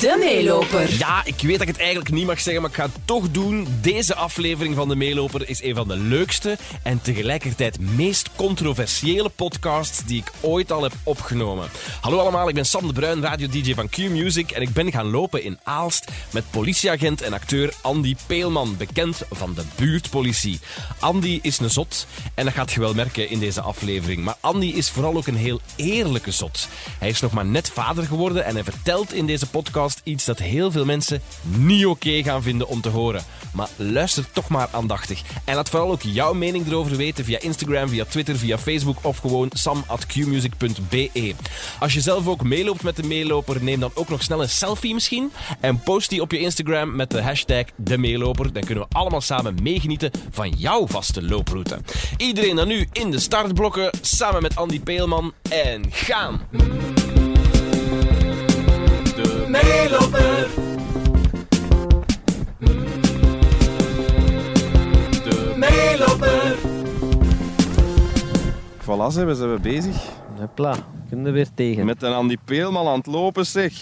De meeloper. Ja, ik weet dat ik het eigenlijk niet mag zeggen, maar ik ga het toch doen. Deze aflevering van De Meeloper is een van de leukste en tegelijkertijd meest controversiële podcasts die ik ooit al heb opgenomen. Hallo allemaal, ik ben Sam de Bruin, radio-dj van Q-Music en ik ben gaan lopen in Aalst met politieagent en acteur Andy Peelman, bekend van de buurtpolitie. Andy is een zot en dat gaat je wel merken in deze aflevering. Maar Andy is vooral ook een heel eerlijke zot. Hij is nog maar net vader geworden en hij vertelt in deze podcast iets dat heel veel mensen niet oké gaan vinden om te horen. Maar luister toch maar aandachtig. En laat vooral ook jouw mening erover weten via Instagram, via Twitter, via Facebook of gewoon sam.qmusic.be. Als je zelf ook meeloopt met de meeloper, neem dan ook nog snel een selfie misschien en post die op je Instagram met de hashtag de meeloper. Dan kunnen we allemaal samen meegenieten van jouw vaste looproute. Iedereen dan nu in de startblokken samen met Andy Peelman en gaan. De meeloper. De meeloper. Voilà, zijn we, zijn we bezig. Hopla, kunnen we weer tegen. Met een Andy Peelman aan het lopen, zeg.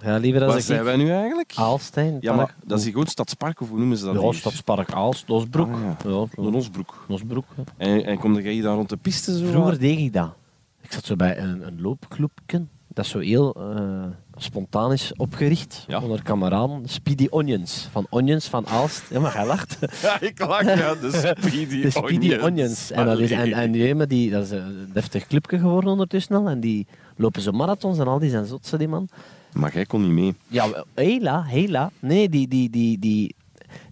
Ja, liever als Waar ik... zijn wij nu eigenlijk? Aalstein. Ja, maar dat is hier gewoon Stadspark, of hoe noemen ze dat Ah, Ja, hier? Stadspark Aalst, Losbroek. Ah, ja. ja. De Nosbroek. Losbroek. hè. En, en kom jij hier dan rond de piste zo? Vroeger deed ik dat. Ik zat zo bij een, een loopclubje. Dat is zo heel eh, spontaan is opgericht. Ja. Onder kameraden. Speedy Onions. Van Onions van Aalst. Ja, maar jij lacht. Ja, ik lach, ja. De Speedy De Speedy Onions. En, dat is, en, en die, hebben die, dat is een deftig clubje geworden ondertussen al. En die lopen zo marathons en al. Die zijn zotse, die man. Maar jij kon niet mee. Ja, wel, hela, hela. Nee, die, die, die, die,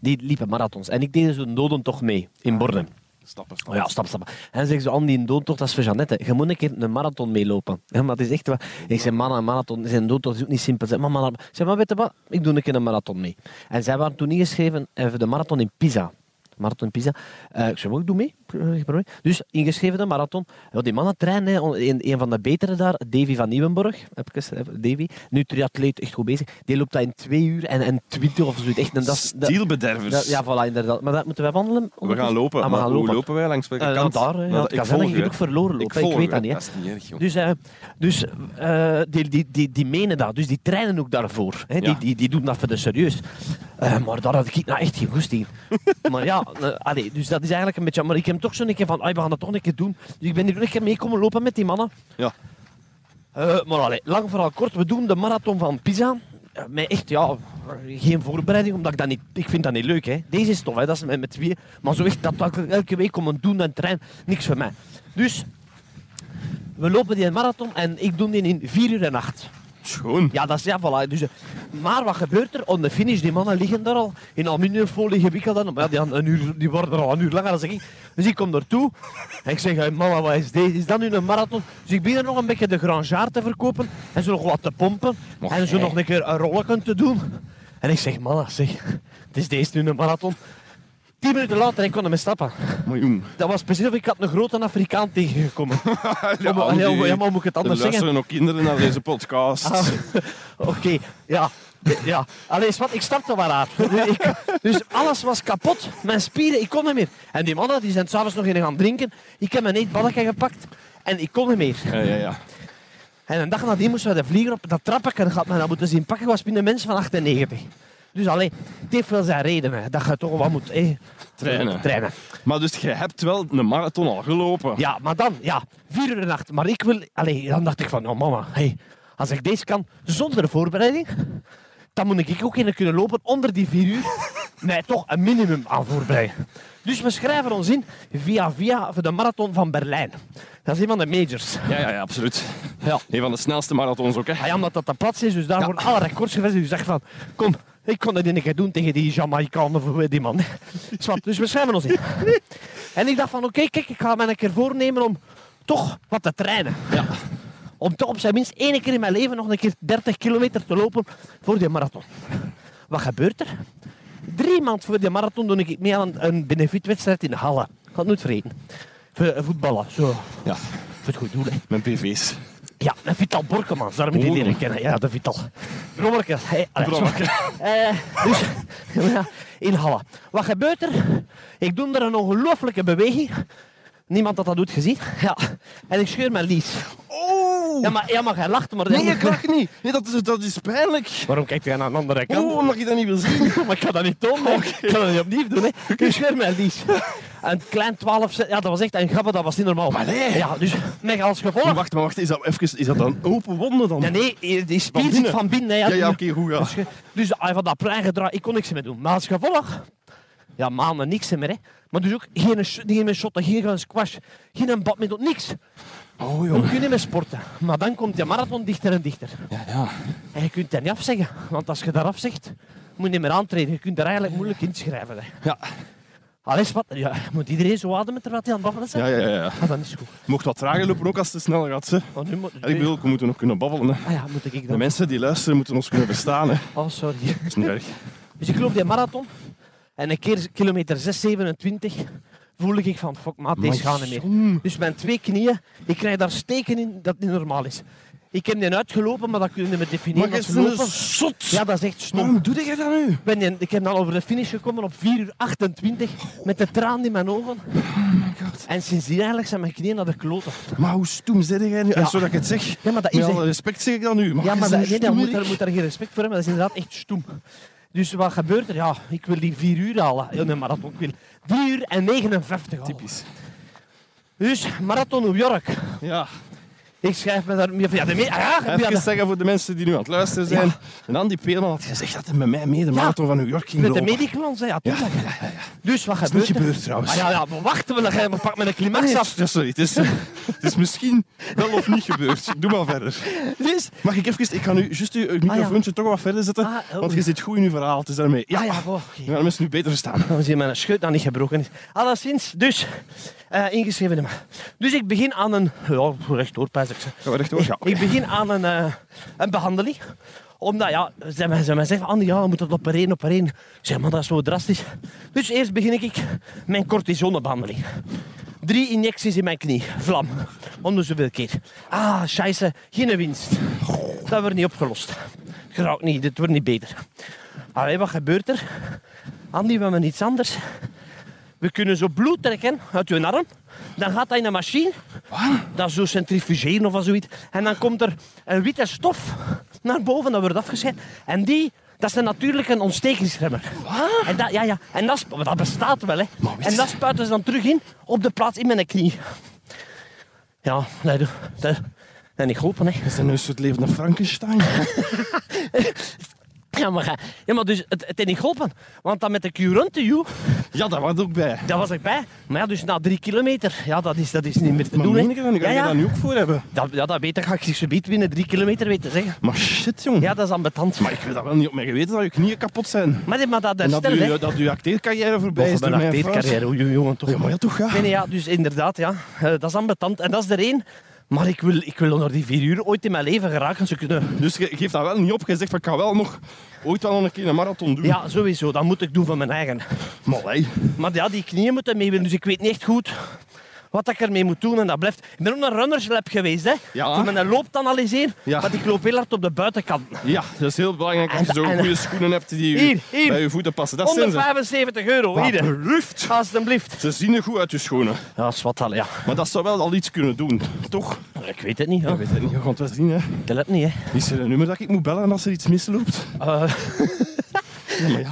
die liepen marathons. En ik deed zo'n dodentocht mee in Borden. Stappen, Oh ja, stap, stap. En zeggen ze, Andy, een dodentocht, dat is voor Jeannette. Je moet een keer een marathon meelopen. Ja, maar het is echt... wa- Ik zei, man, een marathon, zijn dodentocht is ook niet simpel. Zeg, maar, maar, ik zeg, maar weet je wat, ik doe een keer een marathon mee. En zij waren toen ingeschreven eh, voor de marathon in Pisa. Marathon in Pisa. Eh, ik zei, maar ik doe mee. Eh, ik ben mee. Dus ingeschreven de marathon. Ja, die mannen trainen, hè. een, een van de betere daar, Davy van Nieuwenburg. Heb ik eens, eh, Davy. Nu triatleet, echt goed bezig. Die loopt dat in twee uur en, en twintig of zoiets. Echt, en dat, is- dat- Stielbedervers. dat- ja, voilà, inderdaad. Maar dat moeten wij wandelen. we gaan lopen. Ah, we maar gaan hoe lopen. lopen wij langs welke Eh, kant? daar, hè. Ja, het ik kan zijn dat volg je hè. ook verloren Ik loopt, hè. Ik volg weet hè. dat niet, hè. Dat is niet erg, joh. Dus, eh, dus eh, die, die, die, die menen dat, dus die trainen ook daarvoor. Hè? Ja. Die, die, die doen dat voor de serieus. Eh, maar daar had ik nou echt geen goest in. maar ja, eh, allee, dus dat is eigenlijk een beetje... Maar ik heb toch zo'n keer van, "Ai, we gaan dat toch een keer doen. Dus ik ben hier ook een keer mee komen lopen met die mannen. Ja. Eh, maar allee, lang verhaal kort, we doen de marathon van Pisa. Eh, Met echt, ja, geen voorbereiding, omdat ik dat niet... Ik vind dat niet leuk, hè. Deze is tof, hè, dat is met, met twee. Maar zo echt, dat elke, elke week komen doen en trein, niks voor mij. Dus, we lopen die marathon en ik doe die in vier uur en acht. Schoon. Ja, dat is ja, voilà. Dus, eh, maar wat gebeurt er? On the finish, die mannen liggen daar al in aluminiumfolie gewikkeld. En, maar ja, die, aan- een uur, die worden er al een uur langer dan ik. Dus ik kom daartoe en ik zeg, "Hey, mama, wat is dit? Is dat nu een marathon? Dus ik begin nog een beetje de Grangeard te verkopen en zo nog wat te pompen. Och, en zo hey. nog een keer een rolletje te doen. En ik zeg, mama, zeg, het is deze nu een marathon. Tien minuten later, ik kon ermee stappen. Miljoen. Dat was precies of ik had een grote Afrikaan tegengekomen. Ja, maar, Andy, ja, maar- ja, maar moet ik het Er anders zeggen? luisteren ook kinderen naar deze podcast. Ah, Oké, ja. ja. Allee, is wat, ik stapte maar aan. Dus, ik- dus alles was kapot. Mijn spieren, ik kon niet meer. En die mannen die zijn s'avonds nog in gaan drinken. Ik heb mijn eetballetje gepakt en ik kon niet meer. Ja, ja, ja. En een dag nadien moesten we de vlieger op dat trappetje gaat men dat moeten zien pakken. was binnen mensen van 98. Dus allee, het heeft wel zijn redenen dat je toch wat moet eh, Trainen. trainen. Maar dus, je hebt wel een marathon al gelopen. Ja, maar dan, ja, vier uur en acht. Maar ik wil, allee, dan dacht ik van, nou mama, hey, als ik deze kan zonder voorbereiding, dan moet ik ook in kunnen lopen onder die vier uur. Nee, toch een minimum aan voorbereiding. Dus we schrijven ons in via via voor de marathon van Berlijn. Dat is een van de majors. Ja, ja, ja, absoluut. Ja. Een van de snelste marathons ook, hè. Ah ja, omdat dat de plaats is, dus daar worden alle records gevestigd. Dus ik dacht van, kom, ik kon dat in een keer doen tegen die Jamaicanen of eh, die man. Zwart, dus we schrijven ons in. En ik dacht van, oké, kijk, ik ga me een keer voornemen om toch wat te trainen. Ja. Om toch op zijn minst één keer in mijn leven nog een keer 30 kilometer te lopen voor die marathon. Wat gebeurt er? Drie maanden voor die marathon doe ik mee aan een- een benefietwedstrijd in Halle. Ik ga het nooit vergeten. Voor, eh, Voetballen, zo. Ja, Voor het goed doel, hè. mijn PV's. Ja, een Vital Borkemans, daar moet je die Oeh. leren kennen. Ja, de Vital. Brommerke. Hey, allee, sorry. Eh, dus, ja, in Halle. Wat gebeurt er? Ik doe er een ongelooflijke beweging. Niemand had dat ooit gezien. Ja. En ik scheur mijn lies. Oh, Oeh. Ja, maar, ja, maar jij lacht maar. Nee, ik lach niet. Nee, dat, is, dat is pijnlijk. Waarom kijkt jij naar een andere kant? Oeh, omdat je dat niet wil zien. maar ik ga dat niet doen. hè. Ik ga dat niet opnieuw doen. Hè. Dus scheur mij lies. Een klein 12 cent. Ja, dat was echt een gabbe, dat was niet normaal. Allee. Ja, dus met als Maar gevolg. wacht, maar wacht. Is dat, even, is dat dan open wonden dan? Ja, nee, die spier zit binnen. van binnen. Hè, Ja, ja, die- oké, goed, ja. Dus, je- dus ah, van dat plein gedraaid, ik kon niks meer doen. Maar als gevolg, ja, maanden niks meer. Hè. Maar dus ook geen, sh- niet meer shotten, geen gaan squash, geen badminton, niks. Oh, Dan joh. kun je niet meer sporten. Maar dan komt die marathon dichter en dichter. Ja, ja. En je kunt dat niet afzeggen, want als je dat afzegt, moet je niet meer aantreden. Je kunt er eigenlijk moeilijk inschrijven. Hè. Ja, Alles wat, ja, moet iedereen zo ademen terwijl hij aan het babbelen is? ja, ja. ja. Ah, dat is goed. Mocht wat trager lopen ook als het sneller gaat. Hè. Oh, nu moet, En ik bedoel, we moeten nog kunnen babbelen. Hè. ah ja, moet ik De dan... mensen die luisteren moeten ons kunnen verstaan. Hè. Oh, sorry. Dat is niet erg. Dus ik loop die marathon. En een keer kilometer 627 voelde ik van, fuck maat, deze gaan niet meer. Jong. Dus mijn twee knieën, ik krijg daar steken in dat niet normaal is. Ik heb die uitgelopen, maar dat kun je me definiëren Maar je als is een lopen. zot. Ja, dat is echt stom. Waarom doe je dat nu? Ik ben die- ik heb dan over de finish gekomen op 4 uur 28 met de traan in mijn ogen. Oh En sindsdien eigenlijk zijn mijn knieën naar de kloten. Maar hoe stoem zit jij nu? Ja. En zodat ik het zeg, Ja, maar dat is met echt- alle respect zeg ik dat nu. Maar Ja, je maar is een dat, nee, daar moet, stoemerik. daar moet daar geen respect voor hebben. Dat is inderdaad echt stoem. Dus wat gebeurt er? Ja, ik wil die 4 uur halen. Ja, nee, marathon. Ik wil 3 uur en 59 halen. Typisch. Dus marathon New York. Ja. Ik schrijf me daar meer van. Ja, de me- ah, ja, ja, Even de- zeggen voor de mensen die nu aan het luisteren zijn. En Andy Peelman had gezegd dat hij met mij mee de marathon van New York ging met de lopen. mediclans, hè. ja, tuurlijk. Dus wat Dat is gebeurt niet er? gebeurd trouwens. Ah, Ah, ja, ja, maar wachten we, dan ga je- pak met een climax Nee, af. ja, sorry, het is, eh, het is misschien wel of niet gebeurd. Doe maar verder. Dus, Mag ik even... Ik ga nu juist uw uw microfoontje toch wat verder zetten. Ah, oh, want je ja. zit goed in uw verhaal. Het is daarmee. Ja, ah, ja. ja, wow, Ik oké. wil de mensen nu beter verstaan. Dan zien mijn scheut dan niet gebroken is. Alleszins, dus, eh ingeschreven nummer. Dus ik begin aan een... Ja, rechtdoor, pijs ik ze. Gaan we rechtdoor? Ja. Ik begin aan een, eh, een behandeling. Omdat, ja, ze mij, ze mij zeggen, Andy, ja, we moeten dat opereren, opereren. Ik zeg, maar dat is zo drastisch. Dus eerst begin ik mijn cortisonebehandeling. Drie injecties in mijn knie. Vlam. Om de zoveel keer. Ah, scheisse. Geen winst. Dat wordt niet opgelost. Graag niet. Dit wordt niet beter. Allee, wat gebeurt er? Andy, we hebben iets anders. We kunnen zo bloed trekken uit je arm. Dan gaat dat in een machine. Dat zo centrifugeren of zoiets. En dan komt er een witte stof naar boven. Dat wordt afgescheiden. En die... Dat is een natuurlijke ontstekingsremmer. En dat, ja, ja. En dat, sp- dat bestaat wel, hè. Maar wist- En dat spuiten ze dan terug in op de plaats in mijn knie. Ja, nee, dat, dat, dat niet geholpen, hè. Is dat nu een soort levende Frankenstein? Ja, maar, ga- ja, maar dus, het, het is niet geholpen. Want dan met de currente, joh, Ja, daar was ook bij. daar was ik bij. Maar ja, dus na drie kilometer, ja, dat is, dat is niet meer te Maar doen, meen hè. ik dat? nu? Ga Ja, je ja. daar nu ook voor hebben? Dat, ja, dat weet ik, ga ik zo bied binnen drie kilometer weten zeggen. Maar shit, jong. Ja, dat is ambetant. Maar ik wil dat wel niet op mijn geweten dat je knieën kapot zijn. Maar, dit- maar dat En dat herstellen, hè. uw, dat uw acteercarrière voorbij Boven is. door mijn mijn vrouw. acteercarrière, oei, oei, jongen, toch. Ja, maar ja, toch, ja. Nee, nee, ja, dus inderdaad, ja. Eh, dat is ambetant. En dat is er één. Maar ik wil, ik wil onder die vier uur ooit in mijn leven geraken. Ze kunnen Dus je geeft dat wel niet op. Je zegt, van, ik ga wel nog ooit wel een keer een marathon doen. Ja, sowieso. Dat moet ik doen van mijn eigen. Maar hey, Maar ja, die knieën moeten mee willen. Dus ik weet niet echt goed wat ik ermee moet doen. En dat blijft... Ik ben ook naar Runners Lab geweest, hè. Ja. Om mijn loop te analyseren. Ja. Want ik loop heel hard op de buitenkant. ja, dat is heel belangrijk als je En- zo'n en- goede schoenen hebt die je Hier, hier. bij je voeten passen. Dat zijn ze. 175 euro, Maar hier. beluft. Alsjeblieft. Ze zien er goed uit, je schoenen. Ja, zwart al, ja. Maar dat zou wel al iets kunnen doen, toch? Ik weet het niet, ja. Ik weet het niet, we gaan het wel zien. Hè. Ik let niet, hè. Is er een nummer dat ik moet bellen als er iets misloopt? Eh, Ja, maar ja.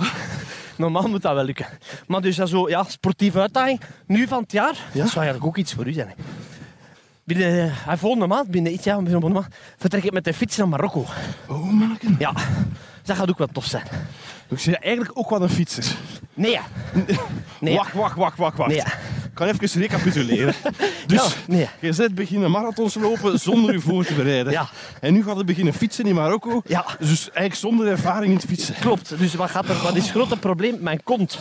normaal moet dat wel lukken. Maar dus dat zo, ja, sportieve uitdaging. Nu van het jaar, dat zou eigenlijk ook iets voor u zijn, hè. Binnen, eh, volgende maand, binnen iets, ja, binnen volgende maand, vertrek ik met de fiets naar Marokko. Oh, manneken. Ja, dat gaat ook wel tof zijn. Dus je bent eigenlijk ook wel een fietser. Nee, hè. Nee. Wacht, wacht, wacht, wacht, wacht. Nee. Ik kan even recapituleren. Dus Ja, nee. je bent beginnen marathons lopen zonder je voor te bereiden. Ja. En nu gaat je beginnen fietsen in Marokko. Ja. Dus eigenlijk zonder ervaring in het fietsen. Klopt, dus wat, gaat er, wat is het grote probleem? Mijn kont.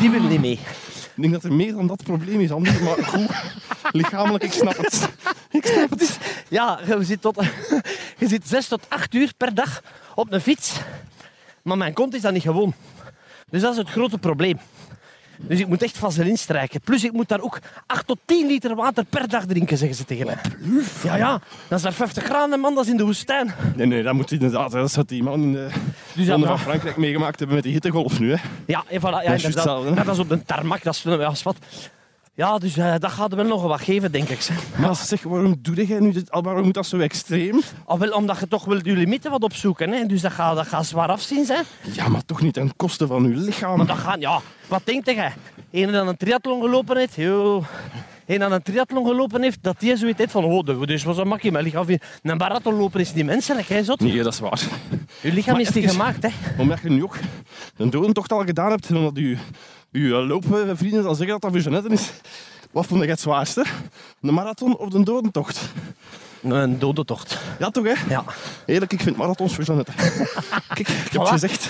Die wil niet mee. Ik denk dat er meer dan dat probleem is, anders. Maar goed, lichamelijk, ik snap het. Het is- ja, je zit, tot, je zit zes tot acht uur per dag op een fiets. Maar mijn kont is dat niet gewoon. Dus dat is het grote probleem. Dus ik moet echt vaseline strijken. Plus ik moet daar ook 8 tot 10 liter water per dag drinken, zeggen ze tegen mij. Ja, ja. Dat is daar 50 graden, man. Dat is in de woestijn. Nee, nee, dat moet inderdaad. Dat is wat die man in de Dus Ronde ja, van Frankrijk meegemaakt hebben met die hittegolf nu. Hè. ja, en voilà, ja, juist inderdaad. hetzelfde, hè? Ja, dat is op de tarmac, dat is, dat is wat. Ja, dus eh, dat gaat wel nog wat geven, denk ik. zeg. Maar zeg, waarom doe jij nu dit? al? Waarom moet dat zo extreem? Ah, wel, omdat je toch wel je limieten wat opzoeken. Hè? Dus dat gaat dat gaat zwaar afzien. Hè? Ja, maar toch niet ten koste van uw lichaam. Maar dat gaat, ja. Wat denkt jij? Een die aan een triathlon gelopen heeft, joh. Een aan een triathlon gelopen heeft, dat die zoiets heeft van, oh, dat is wel zo makkelijk. Mijn lichaam vindt- een marathonloper is niet menselijk, hè, zot. Nee, dat is waar. Je lichaam Maar is niet even- gemaakt, hè. Omdat je nu ook een dodentocht al gedaan hebt en omdat je, je loopvrienden dan zeggen dat dat voor Jeannette is. Wat vond je het zwaarste? De marathon of de dodentocht? Een dodentocht. Ja, toch hè? Ja. Eerlijk, ik vind marathons voor Jeannette. Kijk, ik heb Voilà. het gezegd.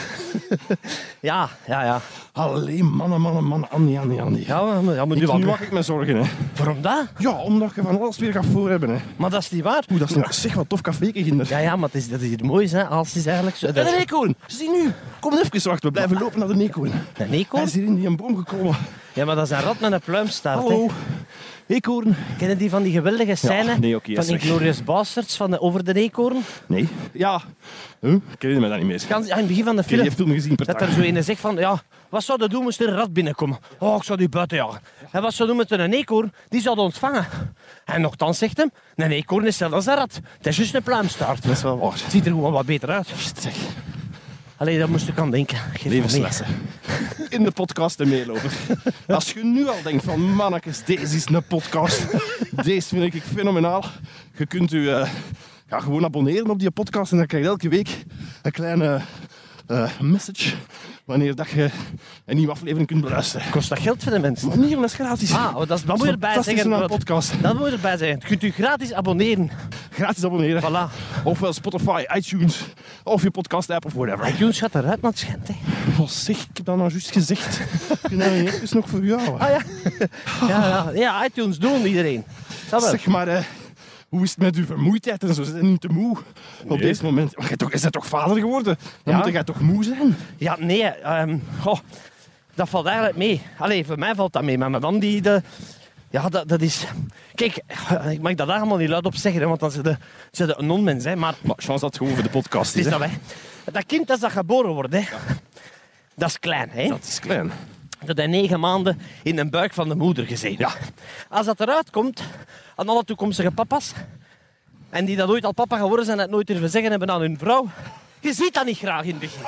Ja, ja, ja. Allee, mannen, mannen, mannen. Ah, Annie, Annie, Annie. Ja, maar, ja, maar Ik- nu wat. nu maak ik me zorgen hè. Waarom dat? Ja, omdat je van alles weer gaat voor hebben hè. Maar dat is niet waar. Oeh, dat is een zeg wat tof café, kinder. Ja, ja, maar het is, dat is hier mooi, hè. Als is eigenlijk zo... En Dat een is, eekhoorn, zie nu. Kom even, wacht, we blijven lopen naar de eekhoorn. een eekhoorn? Hij is hier in die boom gekomen. Ja, maar dat is een rat met een pluimstaart, Hallo, eekhoorn. hè. Kennen die van die geweldige scène nee, oké, ja, van zeg. Inglorious Bastards van de, over de eekhoorn? Nee. Ja. Huh? Ik herinner me dat niet meer. Ik Kan, ja, in het begin van de heb film. die film gezien per Dat dag. er zo een zegt van, ja, wat zou dat doen moest er een rat binnenkomen? Oh, ik zou die buiten jagen. En wat zou doen met een eekhoorn? Die zou dat ontvangen. En nogthans zegt hem, een eekhoorn is zelfs als een rat. Het is juist een pluimstaart. Dat is wel waar. Het ziet er gewoon wat beter uit. Oh, Zeg, Allee, dat moest ik aan denken. Geef maar levenslessen. In de podcast en meelopen. Als je nu al denkt van mannetjes, deze is een podcast. Deze vind ik fenomenaal. Je kunt u eh, ja, gewoon abonneren op die podcast en dan krijg je elke week een kleine eh, message wanneer dat je een nieuwe aflevering kunt beluisteren. mee. Kost dat geld voor de mensen? Maar niet, dat is gratis. Ah, oh, dat, is, dat moet je erbij Fantastisch zeggen. aan een want- podcast. Dat moet je erbij zeggen. Je kunt u gratis abonneren. Gratis abonneren. Voilà. Ofwel Spotify, iTunes, of je podcast app of whatever. iTunes gaat eruit, maar het schijnt, hè. Oh, zeg, ik heb dat nou juist gezegd. Kunnen we niet even nog voor jou? Ah, ja. ja, ja. Ja, iTunes doen iedereen. Dat wel. Zeg maar, eh, hoe is het met uw vermoeidheid en zo? Zijn jullie niet te moe op dit moment? Maar jij toch, is dat toch vader geworden? Dan Ja. moet jij toch moe zijn? Ja, nee. ehm, goh, dat valt eigenlijk mee. Allee, voor mij valt dat mee. Maar mijn man die... De, ja, dat, dat is... Kijk, eh, ik mag dat daar allemaal niet luid op zeggen, hè, want dan zijn de, zijn de een onmens. Hè, maar Maar chance dat het gewoon voor de podcast het is dat, hè. Dat kind als dat geboren wordt, hè, dat is klein. Hè? Dat is klein. Dat hij negen maanden in de buik van de moeder gezeten. Ja. Als dat eruit komt, aan alle toekomstige papa's, en die dat ooit al papa geworden zijn en het nooit durven zeggen hebben aan hun vrouw, je ziet dat niet graag in het begin.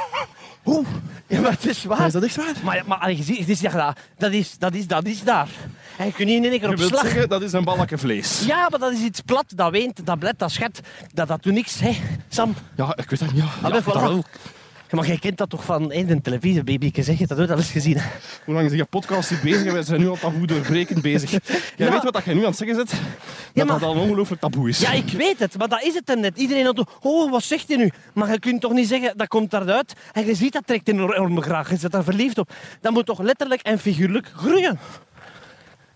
Oeh, Ja, maar het is waar. maar is dat echt waar? Maar, ja, maar allee, je ziet, het is, ja, dat- dat, is, dat, is, dat is daar. En je kunt niet in één keer Je op wilt slag. zeggen, dat is een balkje vlees. Ja, maar dat is iets plat, dat weent, dat blet, dat schet. Dat, dat doet niks, hè. Sam, Ja, ik weet dat niet. Ja, Allee, Ja, voilà. dat wel. Ja, maar jij kent dat toch van in de televisie, baby. Ik zeg je, dat heb je al eens gezien. hè. Hoe lang is je podcast hier bezig? Wij zijn nu al taboe doorbrekend bezig. Jij Ja. weet wat dat jij nu aan het zeggen zit? Dat maar- dat al een ongelooflijk taboe is. Ja, ik weet het, maar dat is het dan net. Iedereen had oh, wat zegt hij nu? Maar je kunt toch niet zeggen, dat komt daaruit. En je ziet, dat trekt enorm graag. Je zit daar verliefd op. Dat moet toch letterlijk en figuurlijk groeien.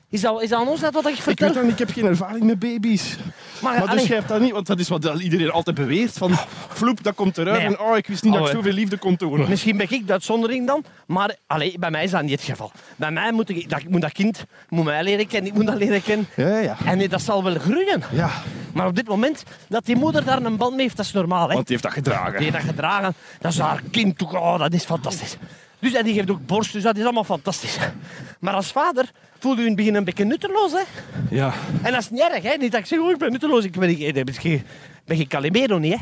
Is dat, is dat aan ons net wat ik Ik weet vertel? dat niet, ik heb geen ervaring met baby's. Maar, Maar, allee. dus jij hebt dat niet, want dat is wat iedereen altijd beweert. Van, vloep, dat komt eruit. Nee. En oh, ik wist niet dat ik Oh, hè. zoveel liefde kon tonen. Misschien ben ik de uitzondering dan, maar allee, bij mij is dat niet het geval. Bij mij moet ik dat, ik moet dat kind moet mij leren kennen, ik moet dat leren kennen. Ja, ja, ja. En dat zal wel groeien. Ja, Maar op dit moment, dat die moeder daar een band mee heeft, dat is normaal. Hè? want die heeft dat gedragen. Die heeft dat gedragen, dat is haar kind. toch, Oh, dat is fantastisch. Dus en die geeft ook borst, dus dat is allemaal fantastisch. Maar als vader voelde u in het begin een beetje nutteloos. Hè? Ja. En dat is niet erg, hè? niet dat ik zeg, oh, ik ben nutteloos, ik ben, ik ben, geen- ben geen Calimero niet. Hè?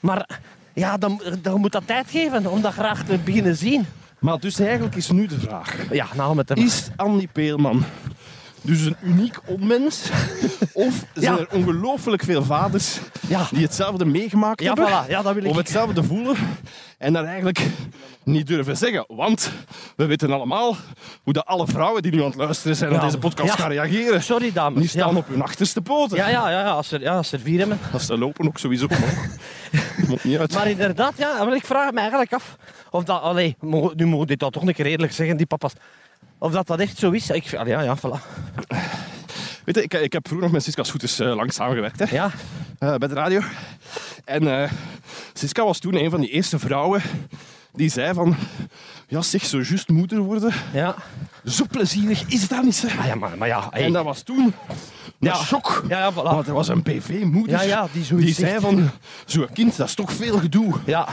Maar ja, dan, dan moet dat tijd geven om dat graag te beginnen zien. Maar dus eigenlijk is nu de vraag. Ja, nou met hem. Is Andy Peelman dus een uniek onmens? Of zijn Ja. er ongelooflijk veel vaders Ja. die hetzelfde meegemaakt Ja, hebben? voilà. Ja, dat wil ik. Of hetzelfde voelen en dat eigenlijk niet durven zeggen. Want we weten allemaal hoe dat alle vrouwen die nu aan het luisteren zijn Ja. naar deze podcast Ja. gaan reageren. Sorry, dames. Die staan ja. op hun achterste poten. Ja, ja, ja, ja, als er, ja, als er vier hebben. Als ze lopen ook sowieso omhoog. Moet niet uit. Maar inderdaad, ja, wel, ik vraag me eigenlijk af of dat, allee, mogen- nu moet dit dat toch een keer eerlijk zeggen, die papa's. Of dat dat echt zo is. Ik, allee, ja, ja, voilà. Weet je, ik, ik heb vroeger nog met Siska Scooters eh, lang samengewerkt. Hè. Ja, eh, bij de radio. En eh, Siska was toen een van die eerste vrouwen die zei van... Ja, zeg, zo juist moeder worden. ja. Zo plezierig is dat niet, zeg. Ah, ja maar, maar ja, hey. En dat was toen Maar shock. Ja, ja, voilà. Want er was een PV-moeder Ja, ja, die zoiets die zei zegt. van, zo'n kind, dat is toch veel gedoe. Ja,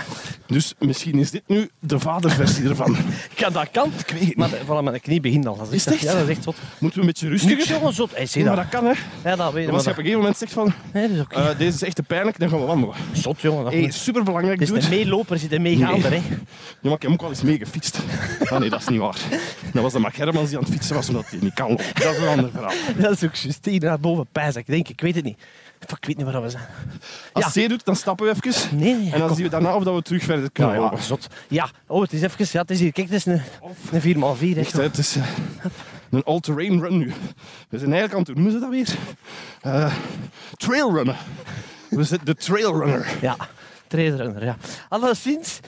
Dus misschien is dit nu de vaderversie ervan. kan, dat kan. Ik weet het Maar niet. de, voilà, mijn knie begint al. Dat is, Is het echt? Ja, dat is echt zot. Moeten we een beetje rustig Niet jongen zot. Hey, zie Ja, maar dat. dat kan, hè. Ja, dat weet Want als je je. maar op een gegeven moment zegt van, dat- Nee, dat is ook eh, deze is echt te pijnlijk, dan gaan we wandelen. zot, jongen. Dat Eh, Hey, moet- superbelangrijk, het dude. is de meeloper, zit een meegaander. hè. Ja, maar ik heb ook al eens mee gefietst. Ah, nee, dat is niet waar. Dat was dan maar Germans die aan het fietsen was, omdat hij niet kan lopen. Dat is een ander verhaal. Dat is ook juist. Hier naar boven pijs. Ik denk, ik weet het niet. Fuck, ik weet niet waar we zijn. Als Ja. het zeer doet, dan stappen we even. Nee, nee. En dan kom. zien we daarna of dat we terug verder Ja, kunnen lopen. ja, zot. Ja, oh, het is even. Ja, het is hier. Kijk, het is een, een 4x4. Echt, Echt, hè, het is eh, een all-terrain run nu. We zijn eigenlijk aan het, hoe noemen ze dat weer? Eh trailrunnen. We zijn de trailrunner. ja, trailrunner, ja. Alleszins.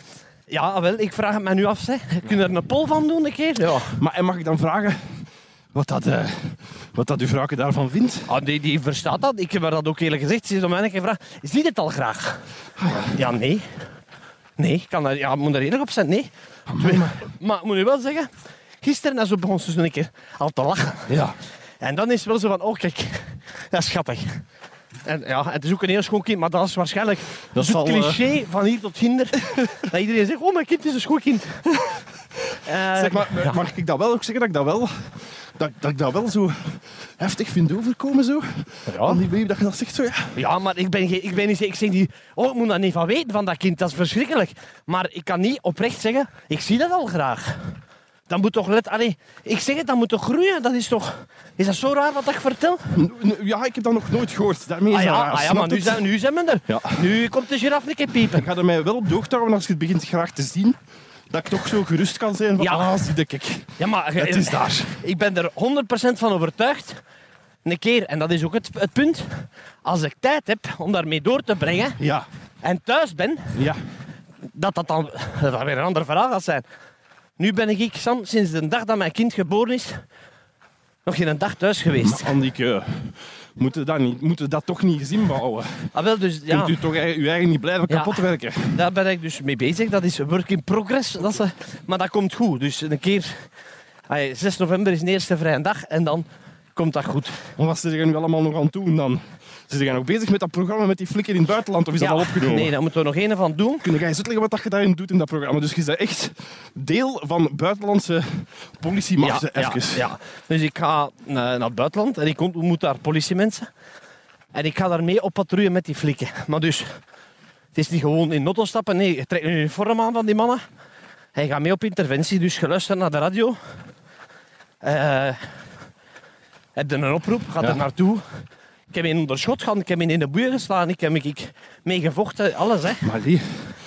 Ja, wel, ik vraag het mij nu af. Hè. Kunnen we er een pol van doen een keer? Ja. Maar en mag ik dan vragen wat dat, eh, wat dat uw vrouwke daarvan vindt? Ah, die, die verstaat dat. Ik heb haar dat ook eerlijk gezegd. Ze heeft om mij een keer gevraagd. Zie je het al graag? Ja, nee. Nee, ik kan daar, ja, ik moet er eerlijk op zijn. Nee. Maar ik moet je wel zeggen, gisteren als we begon ze zo een keer al te lachen. Ja. En dan is het wel zo van, oh kijk, dat is schattig. En ja, het is ook een heel schoon kind, maar dat is waarschijnlijk Dat het zal, eh, cliché van hier tot hinder. dat iedereen zegt, oh mijn kind is een schoon kind. Eh, Zeg maar, ja. mag ik dat wel ook zeggen dat ik dat wel, dat, dat ik dat wel zo heftig vind overkomen zo? Ja. Van die baby dat je dat zegt zo, ja. Ja, maar ik ben, geen- ik ben niet ik zeg niet, oh, ik moet daar niet van weten van dat kind, dat is verschrikkelijk. Maar ik kan niet oprecht zeggen, ik zie dat al graag. Dat moet toch let, allee, ik zeg het, dat moet toch groeien, dat is toch, is dat zo raar wat ik vertel? N- n- Ja, ik heb dat nog nooit gehoord. Daarmee is Ah dat ja, raar, ah ja snap maar nu het? zijn, nu zijn we er. Ja. Nu komt de giraf een keer Ik piepen. ga er mij wel op de hoogte houden als je het begint graag te zien. Dat ik toch zo gerust kan zijn van, Ja. ah, zie de kijk. Ja, maar eh, Het is daar. ik ben er 100% van overtuigd. Een keer, en dat is ook het, het punt, als ik tijd heb om daarmee door te brengen Ja, en thuis ben, ja. dat dat dan dat dat weer een ander verhaal gaat zijn. Nu ben ik, Sam, sinds de dag dat mijn kind geboren is, nog geen een dag thuis geweest. Maar Andieke, moeten we dat, niet, moeten we dat toch niet eens inbouwen? Ah, wel, dus ja, Kunt u toch ei- uw eigen niet blijven Ja. kapotwerken? daar ben ik dus mee bezig. Dat is work in progress. Dat is, eh, maar dat komt goed. Dus een keer, ah, 6 november is de eerste vrije dag en dan komt dat goed. Want wat zit je nu allemaal nog aan het doen dan? Zit je nog bezig met dat programma met die flikker in het buitenland of is Ja, dat al opgenomen? Nee, daar moeten we nog een van doen. Kun jij eens uitleggen wat dat je daarin doet in dat programma? Dus je bent echt deel van buitenlandse politiemachten, ja, even. ja. Dus ik ga eh, naar het buitenland en ik ontmoet daar politiemensen. En ik ga daarmee op patrouille met die flikken. Maar dus, het is niet gewoon in notto stappen. Nee, je trekt een uniform aan van die mannen. Hij gaat mee op interventie, dus je luistert naar de radio. Eh, heb je een oproep, gaat Ja. er naartoe. Ik heb hem onder schot gehad, ik heb hem in de boeien geslaan, ik heb hem- ik mee gevochten, alles hè. Maar die, Ja,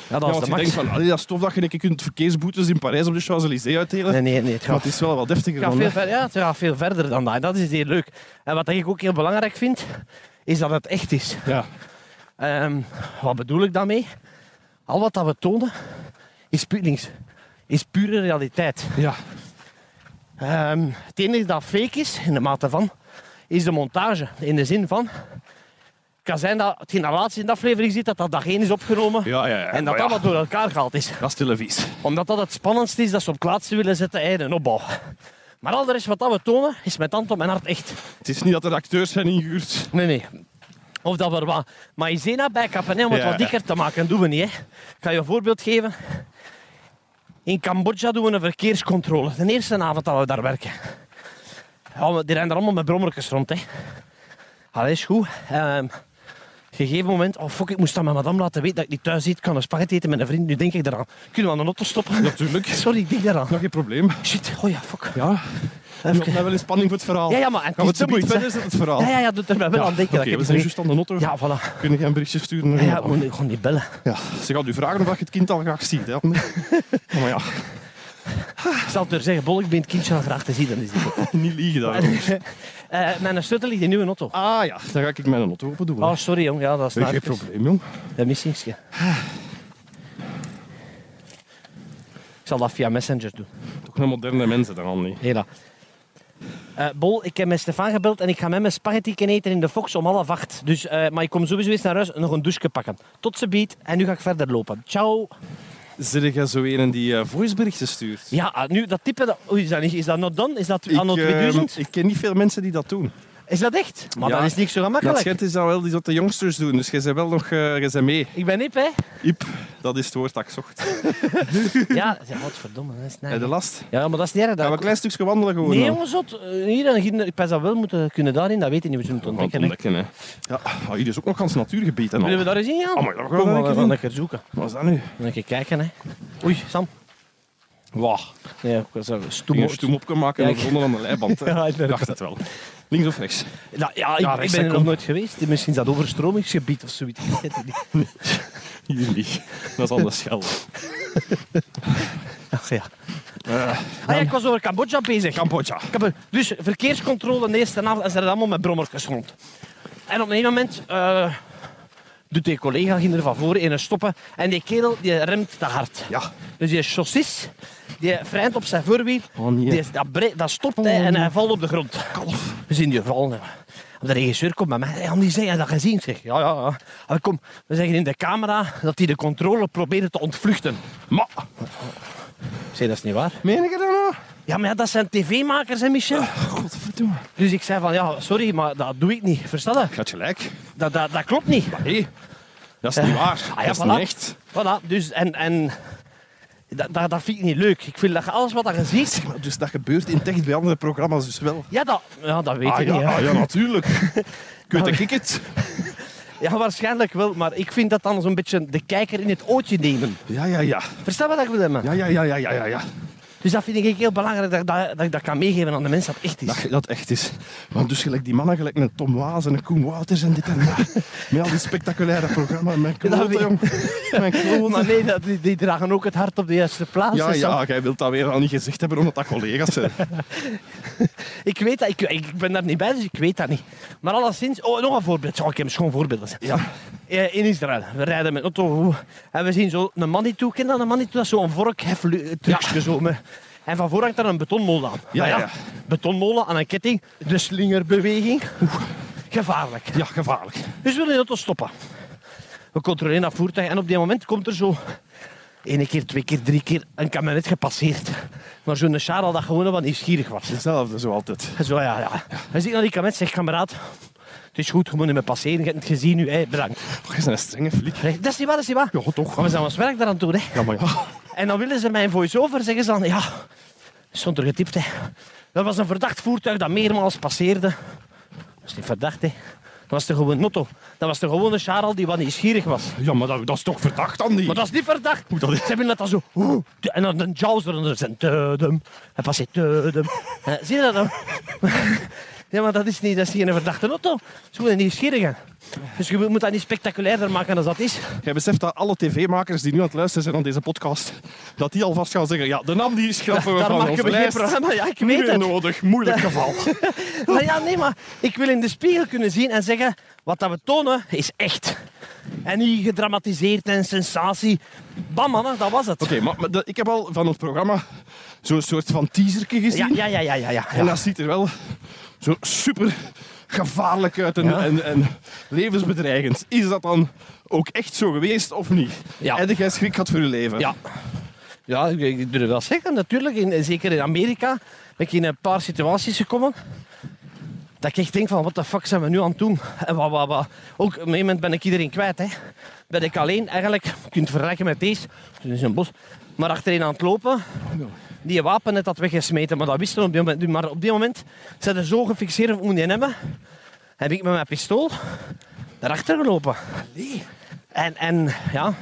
dat ja, was want de je max. denkt van, allee, dat is tof dat je een keer kunt verkeersboetes in Parijs op de Champs-Élysées uitdelen. Nee, nee, nee, het Maar gaat het is wel wat deftiger Het gaat dan veel, dat. ver, ja, het gaat veel verder dan dat. En dat is heel leuk. En wat ik ook heel belangrijk vind, is dat het echt is. Ja. Ehm, wat bedoel ik daarmee? Al wat dat we tonen, is, pu links, is pure realiteit. Ja. Ehm, het enige dat fake is, in de mate van, is de montage. In de zin van, het kan zijn dat hetgeen dat laatst in de aflevering zit, dat dat dageen is opgenomen. Ja, ja, ja. En dat Maar ja, dat wat door elkaar gehaald is. dat is televisie. Omdat dat het spannendste is dat ze op plaatsen willen zetten, eieren en opbouw. Maar al de rest wat dat we tonen, is met hand op mijn hart echt. Het is niet dat er acteurs zijn ingehuurd. Nee, nee. Of dat we er wat maïzena bij kappen, hè, om het Ja, wat ja. dikker te maken. doen we niet. Hè. Ik ga je een voorbeeld geven. In Cambodja doen we een verkeerscontrole. De eerste avond dat we daar werken. Ja, maar die rennen er allemaal met brommertjes rond. Hè. Allee, is goed. Ehm, gegeven moment... Oh, fuck, ik moest dat mijn madame laten weten dat ik niet thuis zit. Ik kan een spaghetti eten met een vriend. Nu denk ik eraan. Kunnen we aan de auto stoppen? Natuurlijk. Sorry, ik denk eraan. Nog geen probleem. Shit, oh ja, fuck. Ja. Je hebt mij wel in spanning voor het verhaal. Ja, ja, maar en Gaan we het het is te zometeen moeilijk. verder zetten, het verhaal? Ja, ja, ja, doet er mij wel Ja, aan denken. dat oké, ik we het zijn nu- juist aan de auto. Ja, voilà. Kunnen jij een berichtje sturen? naar Ja, ja, je gewoon, gewoon niet bellen. Ja, ze gaat u vragen of je het kind al graag ziet. Hè? Maar ja, Ik zal het er zeggen, Bol, ik ben het kindje al graag te zien. Dan is die goed. niet liegen daar. Eh, mijn sleutel ligt in uw auto. Ah ja, Ah, dan ga ik mijn auto open doen. hè. Oh, sorry jong, ja, dat is Nee, nou geen even- probleem, jong. Dat mis niks, ja. Ik zal dat via Messenger doen. Toch een moderne mensen dan al niet. Hela. Eh, Bol, ik heb met Stefan gebeld en ik ga met mijn spaghetti kunnen eten in de Fox om half acht. Dus, eh, maar ik kom sowieso eens naar huis nog een douche pakken. Tot ze biedt en nu ga ik verder lopen. Ciao. Zit jij zo een die eh, voiceberichten stuurt? Ja, ah, nu dat type, dat, oei, is dat niet, is dat not done? Is dat Ik, anno eh, 2000? ik ken niet veel mensen die dat doen. Is dat echt? Maar Ja. dat is niet zo gemakkelijk. Dat schijnt is dat wel iets wat de jongsters doen. Dus jij bent wel nog eh, jij bent mee. Ik ben Ip, hè? Iep, dat is het woord dat ik zocht. Ja, ja godverdomme. Dat is Heb je de last? Ja, maar dat is niet erg. Gaan we een Dat... klein stukje wandelen gewoon? Nee, dan? jongens, zot. Eh, Hier en hier, ik pas dat wel moeten kunnen daarin, dat weet je niet. We zullen het Gewoon ontdekken. hè. ontdekken, hè. Ja, ah, hier is ook nog kans natuurgebied en Willen we al. daar eens in gaan? Ah, maar ja, we gaan Kom, wel een we keer gaan in. lekker zoeken. Wat is dat nu? Een lekker kijken, hè. Oei, Sam. Wauw. Nee, ik was er Vingers stoem. stoem op kunnen maken Ja, en ik- zonder aan de leiband. hè. Ja, ik dacht het wel. Links of rechts? Ja, Nou, ja, ik, Ja, ik rechts, ben er hè, nog kom. nooit geweest. Misschien is dat overstromingsgebied of zoiets. Ik weet het niet. Hier niet. Dat is anders schel. Ach, ja. Eh, Ah, ja, ik was over Cambodja bezig. Cambodja. Ik heb er- dus verkeerscontrole de eerste avond en ze reden allemaal met brommertjes rond. En op een gegeven moment eh, doet die collega ging er van voor in een stoppen en die kerel die remt te hard. Ja. Dus die chaussist die freint op zijn voorwiel, Oh, nee. die, dat, bre- dat stopt hij en hij valt op de grond. We zien die vallen. De regisseur komt bij mij. Hey, Andy, zei je dat gezien? Ik Zeg, ja, ja, ja. Hij, Kom, we zeggen in de camera dat hij de controle probeerde te ontvluchten. Maar, Ik zei, dat is niet waar. meen ik het dan nou? Ja, maar ja, dat zijn tv-makers, hè, Michel? Godverdomme. Dus ik zei van, ja, sorry, maar dat doe ik niet. Versta je? Gaat gelijk. Dat, dat, dat klopt niet. Ah, Hé, dat is niet waar. ja, dat is voilà. niet echt. Voilà, dus en... en dat, dat, dat vind ik niet leuk. Ik vind dat je alles wat je ziet... Maar Dus dat gebeurt in tech bij andere programma's dus wel. Ja, dat, ja, dat weet ah, ik ja, niet. hè. ah, ja, natuurlijk. Kunt ik het? Ja, waarschijnlijk wel. Maar ik vind dat dan zo'n beetje de kijker in het ootje nemen. Ja, ja, ja. Versta wat ik bedoel? man? Ja, ja, ja, ja, ja, ja. ja. Dus dat vind ik heel belangrijk, dat, dat, dat ik dat kan meegeven aan de mensen dat het echt is. Dat, dat echt is. Want dus gelijk die mannen, gelijk een Tom Waas en een Koen Wouters en dit en dat. Met al die spectaculaire programma's. Mijn Dat klote, weet- jong. Mijn klote. Oh, Maar nee, dat, die, die dragen ook het hart op de juiste plaats. dus Ja, hè, Sam. ja, jij wilt dus dat weer al niet gezegd hebben omdat dat collega's zijn. Ik weet dat, ik, ik ben daar niet bij, dus ik weet dat niet. Maar alleszins, oh, nog een voorbeeld. Ja, ik heb schoon voorbeeld. Ja. Eh, In Israël, we rijden met auto en we zien zo een manitou, ken je dat een manitou? Dat is zo'n vorkheffel-trucje zo. met- En van voor hangt daar een betonmolen aan. Ja, ja, Nou ja. Betonmolen aan een ketting, de slingerbeweging. Oeh, gevaarlijk. ja, gevaarlijk. Dus we willen de auto stoppen. We controleren dat voertuig en op die moment komt er zo... Eén keer, twee keer, drie keer een kamionet gepasseerd. Maar zo'n Charles dat gewoon wat nieuwsgierig was. Hetzelfde zo altijd. Zo, ja, ja. Hij ziet naar die kamer zegt, kameraad, het is goed, je moet niet meer passeren, je hebt het gezien nu, hè, bedankt. Oh, je bent een strenge fliek. Hij zegt, Dat is niet waar, dat is niet waar. Ja, toch. Maar we zijn ons werk daaraan doen, hè. Ja, maar ja. En dan willen ze mijn voice-over, zeggen ze dan, ja, stond er getipt, hè. Dat was een verdacht voertuig dat meermaals passeerde. Dat is niet verdacht, hè. Dat was toch gewoon een auto. Dat was toch gewoon een Charles die wat nieuwsgierig was. Ja, maar dat, dat is toch verdacht, Andy? Maar dat is niet verdacht. Hoe dat is- Ze hebben dat dan zo... oeh, en dan een jaws eronder zijn. Tudum. En pas tudum. Eh, zie je dat dan? ja, maar dat is niet, dat is niet een verdachte auto. Dat is gewoon een nieuwsgierige. Dus je moet dat niet spectaculairder maken dan dat is. Jij beseft dat alle tv-makers die nu aan het luisteren zijn aan deze podcast, dat die alvast gaan zeggen, ja, de naam die schrappen we Daar van maken onze we geen lijst. programma. Ja, ik Niet weet meer het. nodig, moeilijk Da- geval. Maar ja, nee, maar ik wil in de spiegel kunnen zien en zeggen... Wat dat we tonen, is echt. En niet gedramatiseerd en sensatie. Bam, mannen, dat was het. Oké, maar, maar dat- ik heb al van het programma zo'n soort van teaserke gezien. Ja, ja, ja, ja, ja, ja. En dat ziet er wel zo super gevaarlijk uit en, Ja. en, en levensbedreigend. Is dat dan ook echt zo geweest of niet? Ja. Heb jij schrik gehad voor je leven? Ja. Ja, ik, ik durf wel zeggen, natuurlijk. In, eh, zeker in Amerika ben ik in een paar situaties gekomen. Dat ik echt denk van, wat de fuck zijn we nu aan het doen? En wat, wat, wat. Ook op een gegeven moment ben ik iedereen kwijt. Hè. Ben ik alleen eigenlijk, je kunt het vergelijken met deze, toen is een bos, maar achterin aan het lopen. Die wapen net had weggesmeten, maar dat wisten we op die moment. niet. Maar op die moment zijn ze zo gefixeerd op moet je hebben. Heb ik met mijn pistool daarachter gelopen. En, en ja,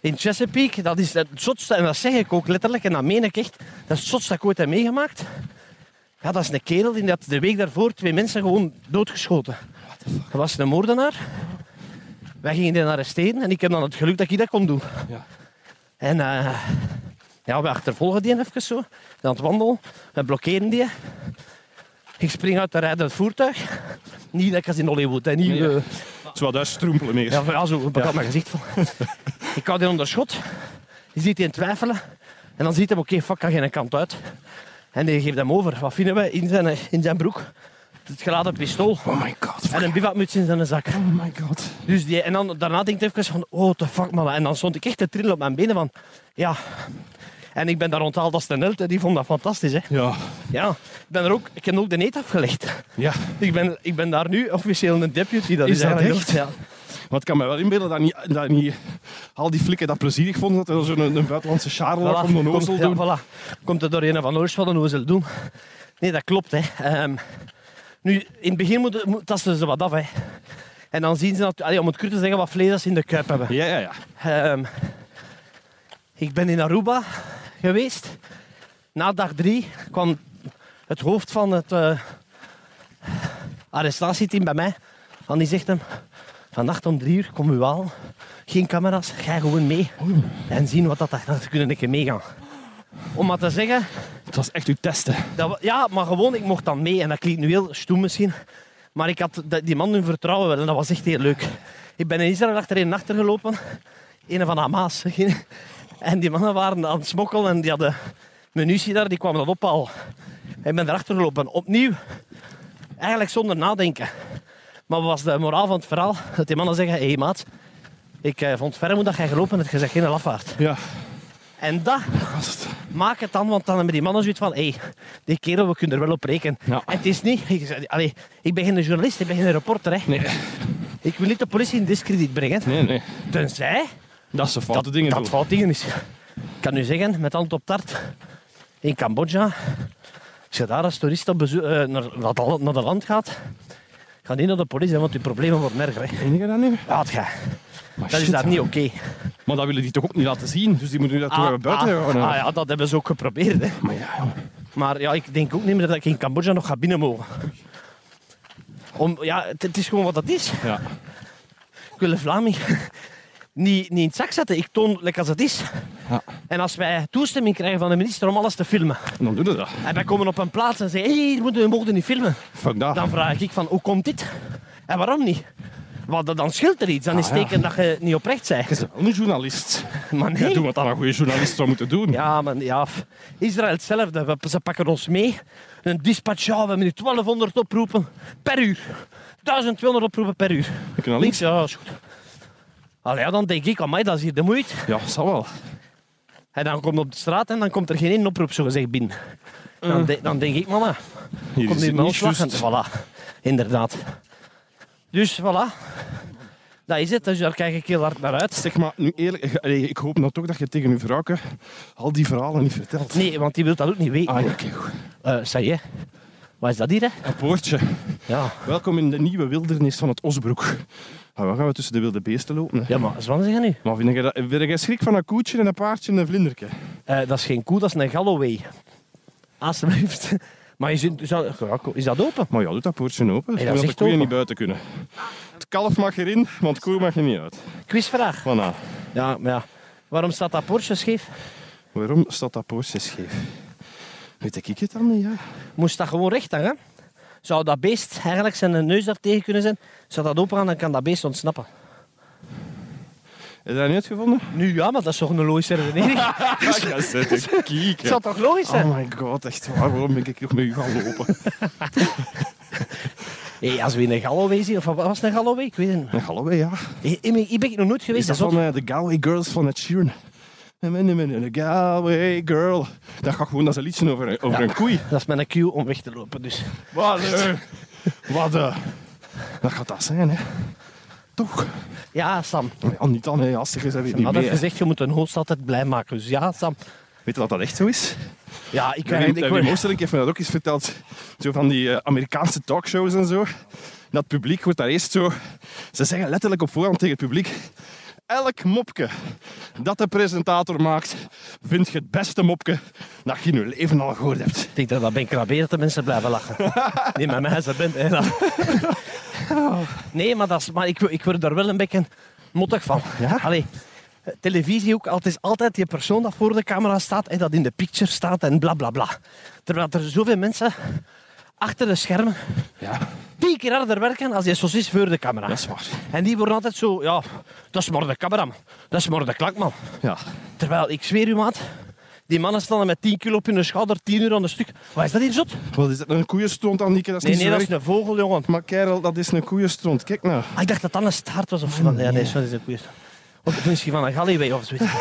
in Chesapeake, dat is het zotste, en dat zeg ik ook letterlijk, en dat meen ik echt, dat is het zotste dat ik ooit heb meegemaakt. Ja, dat is een kerel die dat de week daarvoor twee mensen gewoon doodgeschoten. Dat was een moordenaar. Wij gingen die arresteren en ik heb dan het geluk dat ik dat kon doen. Ja. En eh, ja, we achtervolgen die even zo, aan het wandelen. We blokkeren die. Ik spring uit de rijdend voertuig. Niet lekker in Hollywood, hè. Niet, Nee, ja. eh, Zo, daar stroempelen meer. ja, van, ja, zo, ik had mijn gezicht vol. ik hou die onder schot. Je ziet die in twijfelen. En dan ziet hij, oké, fuck, kan geen kant uit. En die geeft hem over. Wat vinden we? In zijn, in zijn broek. Het geladen pistool. Oh my god. En een bivakmuts in zijn zak. Oh my god. Dus die, en dan, daarna denk ik even van, oh, what the fuck, man. En dan stond ik echt te trillen op mijn benen van, ja... En ik ben daar onthaald als ten elte. Die vond dat fantastisch. Hè. Ja. Ja, ik, ben er ook, ik heb ook de eet afgelegd. ja. Ik ben, ik ben daar nu officieel een deputy. Dat Is is, dat eigenlijk echt? ook- Ja. Maar ik kan me wel inbeelden dat niet, dat niet al die flikken dat plezierig vonden. Dat er zo'n een buitenlandse charlaat Voilà, om de nozel komt- doen. Ja, voilà. Komt er door een van Oors wat een nozel doen. Nee, dat klopt. Hè. Ehm, nu, in het begin moeten- moet- tasten ze wat af. Hè. En dan zien ze, dat, allee, om het kort te zeggen, wat vlees dat ze in de kuip hebben. Ja, ja, ja. Ehm, ik ben in Aruba geweest. Na dag drie kwam het hoofd van het eh, arrestatieteam bij mij. En die zegt hem, vannacht om drie uur kom u halen. Geen camera's, ga gewoon mee. En zien wat dat... Dat kunnen een keer meegaan. Om maar te zeggen, Het was echt uw testen. dat we- ja, maar gewoon, ik mocht dan mee. En dat klinkt nu heel stoem misschien. Maar ik had dat- die man hun vertrouwen wel. En dat was echt heel leuk. Ik ben in Israël achter een achtergelopen. Een van Hamas. En die mannen waren aan het smokkelen. En die hadden munitie daar. Die kwamen dat ophalen. Ik ben erachter gelopen. Opnieuw. Eigenlijk zonder nadenken. Maar wat was de moraal van het verhaal? Dat die mannen zeggen... Hé hey, maat, ik eh, vond het verre moet dat jij gelopen hebt. Je zegt geen lafaard. Ja. En dat Was het. maak het dan, want dan hebben die mannen zoiets van, hé, die kerel, we kunnen er wel op rekenen. Ja. En het is niet, ik, zei, allee, ik ben geen journalist, ik ben geen reporter. Hè. Nee, Ik wil niet de politie in discrediet brengen, nee, nee. tenzij Dat is de foute dat, dingen dat doen. fout dingen is. Ik kan u zeggen, met hand op tart, in Cambodja, als je daar als toerist op bezoek, eh, naar, naar, dat- naar dat land gaat, ga niet naar de politie, hè, want je problemen worden erger. Hè. Ken je dat niet? Laat ga. Maar Dat is shit, daar ja. niet oké. Maar dat willen die toch ook niet laten zien. Dus die moeten nu dat toch Ah, weer buiten ah, houden. ah ja, dat hebben ze ook geprobeerd. Hè. Maar ja, joh. Maar ja, ik denk ook niet meer dat ik in Cambodja nog ga binnen mogen. Om, ja, het, het is gewoon wat dat is. Ja. Ik wil de Vlaming niet, niet in het zak zetten. Ik toon lekker als het is. Ja. En als wij toestemming krijgen van de minister om alles te filmen. En dan doen we dat. En wij komen op een plaats en zeggen, hé, hey, we mogen niet filmen. Fuck dat. Dan vraag ik van, hoe komt dit? En waarom niet? Want dan- dan scheelt er iets. Dan is het Ah, ja. teken dat je niet oprecht Je bent. bent wel een journalist. Maar Ja, nee. doe wat dan een goede journalist zou moeten doen. Ja, maar ja, f- Israël hetzelfde. We- Ze pakken ons mee. Een dispatch, ja, we hebben nu 1200 oproepen per uur. 1200 oproepen per uur. Ik kan Links, links. ja, is goed. Allee, ja, dan denk ik, amai, dat is hier de moeite. Ja, zal wel. En dan komt op de straat en dan komt er geen één oproep, zogezegd, binnen. Dan, de- dan denk ik, mama, Hier kom Mm. is nu het dus- met niet ons lachen. juist. Voilà, inderdaad. Dus, voilà. Dat is het, dus daar kijk ik heel hard naar uit. Zeg maar, nu eerlijk, eh, allee, ik hoop nou toch dat je tegen uw vrouwke al die verhalen niet vertelt. Nee, want die wil dat ook niet weten. Ah, ja, oké, goed. Eh, ça y est. Wat is dat hier, hè? Een poortje. Ja. Welkom in de nieuwe wildernis van het Osbroek. Ah, waar gaan we tussen de wilde beesten lopen? hè? Ja, maar zwan zeggen nu. Maar vind je, dat, vind je schrik van een koetje en een paardje en een vlinderke? Eh, dat is geen koe, dat is een Galloway. Alsjeblieft. Maar is, het- is, dat, ja, ko- is dat open? Maar ja, doet dat poortje open. Nee, zodat dat is de echt koeien open. niet buiten kunnen. Het kalf mag erin, want koe mag er niet uit. Quizvraag. Voilà. Ja, maar ja. Waarom staat dat Porsche scheef? Waarom staat dat poortje scheef? Weet ik het dan niet, ja? Moest dat gewoon recht hangen? Zou dat beest eigenlijk zijn neus daar tegen kunnen zijn? Zou dat open gaan, dan kan dat beest ontsnappen. Heb je dat niet uitgevonden? Nu ja, maar dat is toch een logische redenering? Ja, zet een kiek. Het zou toch logisch zijn? Oh my god, echt waar, waarom ben ik hier met u gaan lopen? Hey, als we een Galloway zien, of wat was een Galloway? Ik weet het niet. En hallo, hè, ja. Hey, hey, Hier ben ik nog nooit geweest. Is dat dat van eh, de Galway Girls van Ed Sheeran? De Galway Girl. Dat gaat gewoon, dat is een liedje over, over een koei. dat is mijn cue om weg te lopen. Dus. Wat? eh, Wat? eh, Dat gaat dat zijn, hè? Toch? Ja, Sam. Ja, niet dan, hè. Als je bent, weet Ik niet had meer. hè. gezegd, je moet een host altijd blij maken. Dus ja, Sam. Weet je dat dat echt zo is? Ja, ik Wim- weet eh, Wim Oosterling heeft me dat ook eens verteld. Zo van die eh, Amerikaanse talkshows en zo. Dat het publiek wordt daar eerst zo... Ze zeggen letterlijk op voorhand tegen het publiek... Elk mopje dat de presentator maakt, vind je het beste mopje dat je in je leven al gehoord hebt. Ik denk dat dat ben krabbeer dat de mensen blijven lachen. Nee, maar mij ze bent. hè, dat- Oh. Nee, maar, dat is, maar ik, wo- ik word daar wel een beetje mottig van. Ja? Allee, eh, televisie ook, al- het is altijd die persoon dat voor de camera staat en dat in de picture staat en bla bla bla. Terwijl er zoveel mensen achter de schermen Ja, tien keer harder werken als die sausjes voor de camera. dat is waar. En die worden altijd zo, ja, dat is maar de cameraman, dat is maar de klankman. Ja. Terwijl, ik zweer u maat, die mannen staan er met 10 kilo op hun schouder, 10 uur aan een stuk. Wat is dat hier zot? Wat is dat? Een koeienstront, Annieke? Dat is Nee, niet nee, zo dat is erg. een vogel, jongen. Maar kerel, dat is een koeienstront. Kijk nou. Ah, ik dacht dat dat een staart was of zo. Ja, nee, sorry, dat is een koeien. Of misschien van een gallyway of zoiets.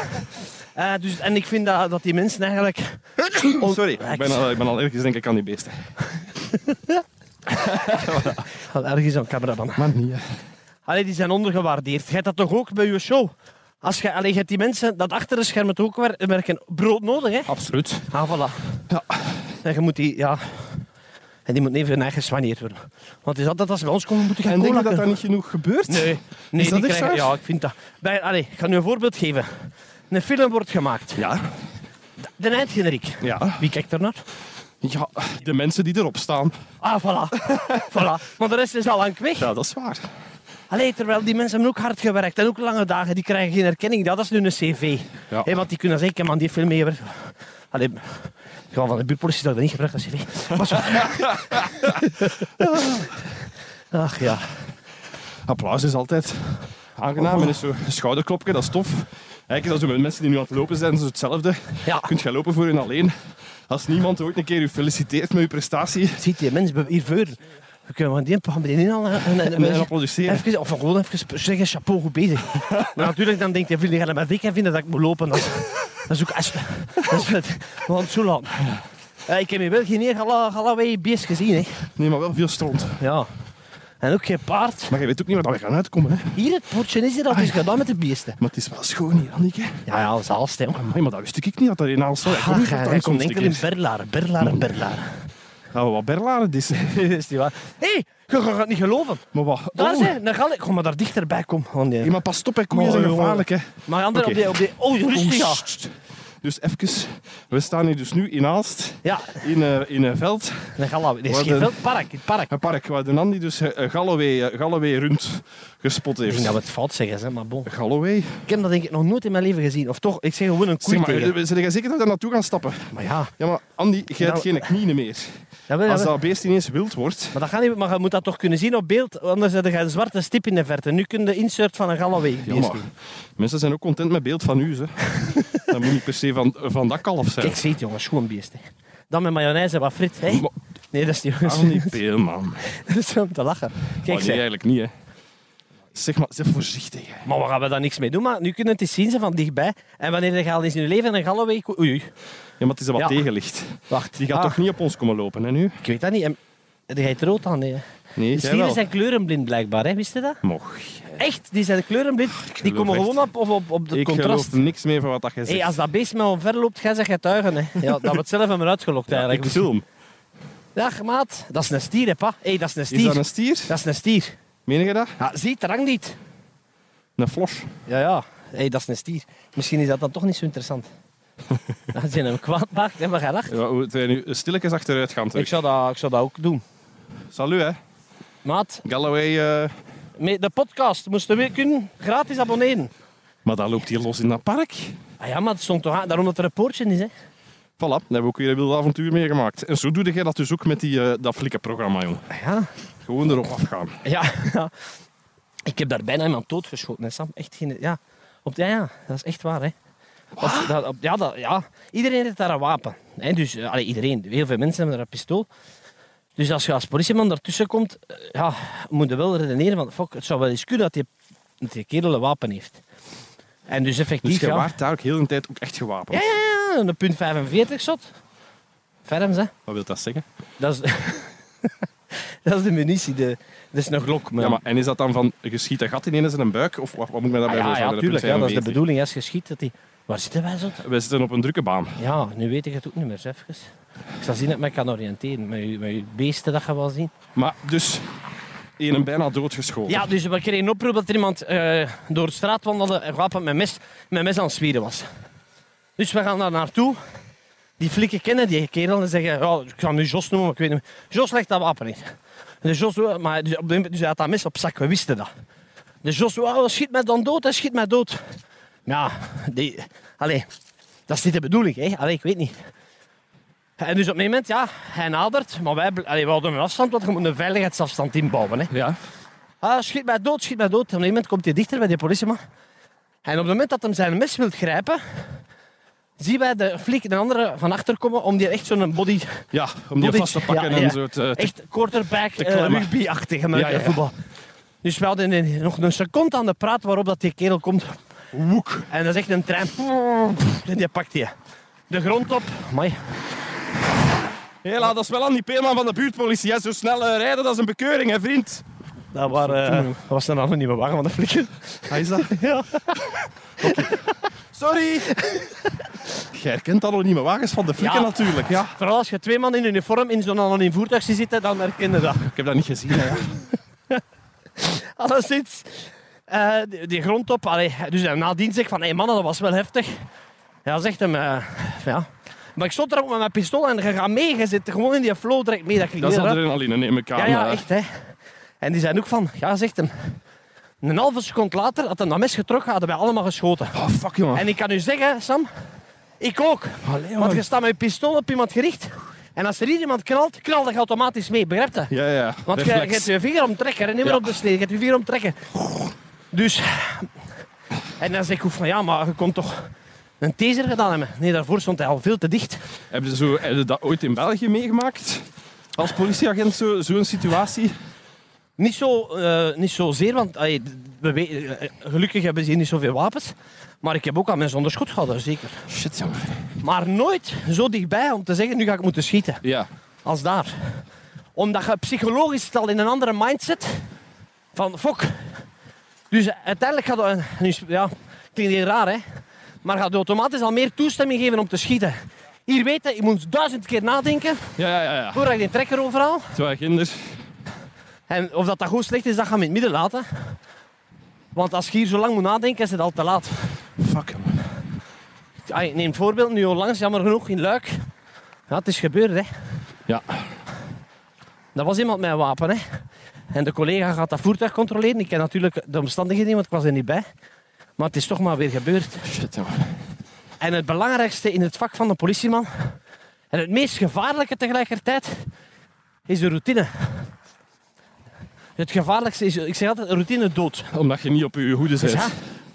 Eh, dus, en ik vind dat, dat die mensen eigenlijk... Sorry, ik ben, al, ik ben al ergens denk ik aan die beesten. Wel, Ergens aan camera dan. Maar niet, hè. Allee, die zijn ondergewaardeerd. Jij hebt dat toch ook bij je show? Als je, allee, je hebt die mensen dat achter de schermen toch ook wer- werken brood nodig, hè? Absoluut. Ah, voilà. Ja. En je moet die, ja... En die moet even hun eigen geswaneerd worden. Want het is altijd als ze bij ons komen, moeten gaan En denk je dat koolakken. dat niet genoeg gebeurt? Nee, nee Is dat die echt krijgen- waar? Ja, ik vind dat... Bij, allee, ik ga nu een voorbeeld geven. Een film wordt gemaakt. Ja. De eindgeneriek. Ja. Wie kijkt er naar? ja. De mensen die erop staan. Ah, voilà. voilà. Maar de rest is al lang weg. Ja, dat is waar. Allee, terwijl die mensen hebben ook hard gewerkt en ook lange dagen, die krijgen geen erkenning. Dat is nu een cv. Ja. Hé, want die kunnen zeggen, ik heb aan die film meegewerkt. Allee, ik ga van de buurtpolitie dat ik dat niet gebruik, dat cv. Maar zo. Ach ja. Applaus is altijd aangenaam. En is zo'n schouderklopje, dat is tof. Eigenlijk is dat zo met mensen die nu aan het lopen zijn, is het hetzelfde. Ja, kunt gaan lopen voor hun alleen. Als niemand ooit een keer u feliciteert met uw prestatie ziet die mens be- hier voor. We kunnen van die gaan meteen in al en, en, en, en, en applaudisseren. Even, of gewoon even zeggen, chapeau, goed bezig. Maar natuurlijk, dan denkt hij, vind je dat met ik en vinden dat ik moet lopen? Dat is, dat is ook echt... Dat is vet. Want zo lang. Eh, Ik heb hier wel geen eer gala- galaway beest gezien, hè. Nee, maar wel veel stront. Ja. En ook geen paard. Maar je weet ook niet waar we gaan uitkomen, hè? Hier het poortje is hier Ah, dat is gedaan met de beesten. Maar het is wel schoon hier, Anneke. Ja, ja, dat is alles, hè. Amai, maar dat wist ik niet, dat dat in Aalst zou Ah, jij- jij komt enkel in Berlaren, Berlaren, Berlaren. Gaan we wat berlaren dissen? is die waar? Hé, je gaat het niet geloven. Maar wat? Daar Oh. zijn, dan ga ik. Kom maar daar dichterbij, kom. Oh, nee. Ja, maar pas op, hè. koeien Maar, zijn jongen. gevaarlijk, hè. Maar ander Oké. op die... Op die oh, Oh, rustig, ja. sst, sst. Dus even, we staan hier dus nu in Aalst, Ja, in, eh, in een veld, dan gaan we. Dit is Wat geen een- veld, park, het park. een park, waar de Nandi dus eh, Galloway, eh, Galloway rund gespot Ik denk heeft. dat we het fout zeggen, hè, maar bon. Galloway? Ik heb dat denk ik nog nooit in mijn leven gezien. Of toch, ik zeg gewoon een koe Zeg maar, tegen. eh, zijn jij zeker dat we daar naartoe gaan stappen? Maar ja, Ja, maar Andy, jij hebt Nou- geen knieën meer. dat wil, Als dat wil. dat beest ineens wild wordt... Maar dat gaat niet, maar je moet dat toch kunnen zien op beeld. Anders heb je een zwarte stip in de verte. Nu kun je de insert van een Galloway Ja, maar mensen zijn ook content met beeld van u, hè. Dat moet niet per se van, van dat kalf zijn. Kijk, ziet jongens, gewoon beest. Hè. Dan met mayonaise en wat frit. Hè? Maar- Nee, dat is niet jongens. Andy Peelman. dat is om te lachen. Oh, Kijk, nee, zeg. eigenlijk niet, hè. Zeg maar, zeg voorzichtig, hè. Maar we gaan we daar niks mee doen. Maar nu kunnen we het eens zien ze van dichtbij. En wanneer je al eens in je leven een Galloway... ko- Oei, oei. Ja, maar het is er wat Ja. tegenlicht. Wacht. Die gaat Ah, toch niet op ons komen lopen, hè, nu? Ik weet dat niet. En... Jij het rood aan, nee. hè. Nee, De jij stieren wel. zijn kleurenblind blijkbaar, hè? wist je dat? Mocht. Echt, die zijn kleurenblind. Die Ah, geloof komen echt. gewoon op, op, op, op het Ik contrast. geloof niks meer van wat dat jij zegt. Hey, als dat beest met omver loopt, jij zegt getuigen. Hè. Ja, dat we het zelf hebben uitgelokt Ja, ik eigenlijk. film. Dag maat, dat is een stier, hè, pa. Hey, dat is een stier. Is dat een stier? Dat is een stier. Meen je dat? Ja, zie, het hangt niet. Een flos. Ja, ja. Hey, dat is een stier. Misschien is dat dan toch niet zo interessant. Dat je hem kwaad maakt, hè, maar jij lacht. Ja, we zijn nu stilletjes achteruit gaan Ik terug. zou, dat, ik zou dat ook doen. Salut, hè. Maat, Galloway... eh, met de podcast moesten we kunnen gratis abonneren. Maar dat loopt hier los in dat park. Ah ja, maar het stond toch aan, daarom dat er een poortje is, hè. Voilà, daar hebben we ook weer een wilde avontuur meegemaakt. En zo doe jij dat dus ook met die, eh, dat flikkenprogramma, jong. Ah ja. Gewoon erop afgaan. Ja, ja. Ik heb daar bijna iemand doodgeschoten, hè, Sam. Echt geen... Ja, op, ja, ja dat is echt waar, hè. Op, dat, op- ja, dat, ja, iedereen heeft daar een wapen. Hè. Dus, eh, allee, iedereen. Heel veel mensen hebben daar een pistool. Dus als je als politieman daartussen komt, eh, ja, moet je wel redeneren van... Fuck, het zou wel eens kunnen dat die, dat die kerel een wapen heeft. En dus Dus effectief, je ja. waart daar ook heel de tijd ook echt gewapend. Ja, ja, ja. Een punt 45 shot. Ferms, hè. Wat wil dat zeggen? Dat is... dat is de munitie. De, dat is een glok, man. Ja, maar, en is dat dan van, je schiet een gat in een zijn een buik? Of wat, wat moet ik me daarbij Ah, ja, ja, voorstellen? natuurlijk. Ja, dat is de 45. bedoeling. Als je schiet, dat die... Waar zitten wij zo? We zitten op een drukke baan. Ja, nu weet ik het ook niet meer, zeg. even. Ik zal zien dat ik me kan oriënteren. Met je, met je beesten, dat gaan we wel zien. Maar dus, één een bijna doodgeschoten. Ja, dus we kregen een oproep dat er iemand eh, door de straat wandelde en gewapend met mes, met mes aan het zwieren was. Dus we gaan daar naartoe. Die flikken kennen die kerel en zeggen, ja, ik ga hem nu Jos noemen, maar ik weet niet meer. Jos legt dat wapen in. Dus, Jos, eh, maar, dus, op de, dus hij had dat mes op zak, we wisten dat. Dus Jos, oh, schiet mij dan dood, hij schiet mij dood. Ja, die, allee, dat is niet de bedoeling, hè. Allee, ik weet niet. En dus op een moment, ja, hij nadert, maar wij, bl- allee, we houden een afstand, want je moet een veiligheidsafstand inbouwen, hè. Ja. Ah, schiet mij dood, schiet mij dood. Op een gegeven moment komt hij dichter bij die politieman. En op het moment dat hij zijn mes wil grijpen, zien wij de flik de andere van achter komen om die echt zo'n body, Ja, om die Body- vast te pakken Ja, en ja. zo te... te- echt quarterback te eh, klemmen. rugby-achtige Ja, ja, ja. voetbal. Dus we hadden in- nog een seconde aan de praat waarop dat die kerel komt Woek. En dat is echt een trein. En die pakt je. De grond op. Amai. Hela, dat is wel aan die peerman van de buurtpolitie. Hè. Zo snel eh, rijden, dat is een bekeuring, hè, vriend. Dat, waren, eh, dat was een anonieme wagen van de flikker. Hij Ah, is dat? Ja. Sorry. Jij herkent anonieme wagens van de flikken Ja. natuurlijk. Ja. Vooral als je twee man in uniform in zo'n anoniem voertuig ziet zitten, dan herken je dat. Ik heb dat niet gezien. Hè, ja. Alleszins, eh die, die grond op. Allee, dus nadien zeg ik van, hé hey mannen, dat was wel heftig. Ja, zegt hem, eh, ja. Maar ik stond er ook met mijn pistool en je gaat mee. Je zit gewoon in die flow direct mee. Dat, ik Dat is hier, hè. adrenaline, neem ik aan. Ja, ja, eh. echt, hè. En die zijn ook van, ja, zegt hem. Een halve seconde later had hij dat mes getrokken, hadden wij allemaal geschoten. Oh, fuck, jongen. En ik kan u zeggen, Sam, ik ook. Allee, Want man. je staat met je pistool op iemand gericht. En als er hier iemand knalt, knalt je automatisch mee, begrijp je? Ja, ja. Want je, je reflex. hebt je vinger omtrekken, hè? niet meer Ja. op de snee. Je hebt je vinger omtrekken. Dus... En dan zeg ik ook van, ja, maar je kon toch een taser gedaan hebben? Nee, daarvoor stond hij al veel te dicht. Heb, je zo, heb je dat ooit in België meegemaakt? Als politieagent zo- zo'n situatie? Niet, zo, eh, niet zozeer, want allee, d- we we- eh, gelukkig hebben ze hier niet zoveel wapens. Maar ik heb ook al mensen onder schot gehad, daar zeker. Shit, jongen. Maar nooit zo dichtbij om te zeggen, nu ga ik moeten schieten. Ja. als daar. Omdat je psychologisch het al in een andere mindset van fok. Dus uiteindelijk gaat dat, nu is- ja, klinkt heel raar hè, maar gaat je automatisch al meer toestemming geven om te schieten. Hier weet je, je moet duizend keer nadenken Ja, ja, ja. ja. voordat je die trekker overhaal. Terwijl kinder. En of dat, dat goed of slecht is, dat gaan we in het midden laten. Want als je hier zo lang moet nadenken, is het al te laat. Fuck, jongen. Ah, ik neem een voorbeeld, nu onlangs, jammer genoeg, in Luik. Ja, het is gebeurd hè. Ja. Dat was iemand met een wapen, hè. En de collega gaat dat voertuig controleren. Ik ken natuurlijk de omstandigheden niet, want ik was er niet bij. Maar het is toch maar weer gebeurd. Shit, jongen. En het belangrijkste in het vak van de politieman, en het meest gevaarlijke tegelijkertijd, is de routine. Het gevaarlijkste is, ik zeg altijd, routine dood. Omdat je niet op je hoede zit. Dus ja,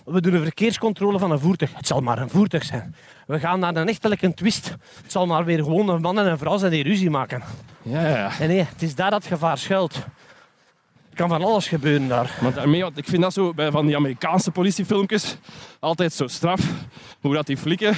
we doen een verkeerscontrole van een voertuig. Het zal maar een voertuig zijn. We gaan naar een echtelijke twist. Het zal maar weer gewoon een man en een vrouw zijn die ruzie maken. Ja, ja, ja. En nee, het is daar dat gevaar schuilt. Er kan van alles gebeuren daar. Want daarmee, want ik vind dat zo bij van die Amerikaanse politiefilmpjes altijd zo straf. Hoe dat die flikken,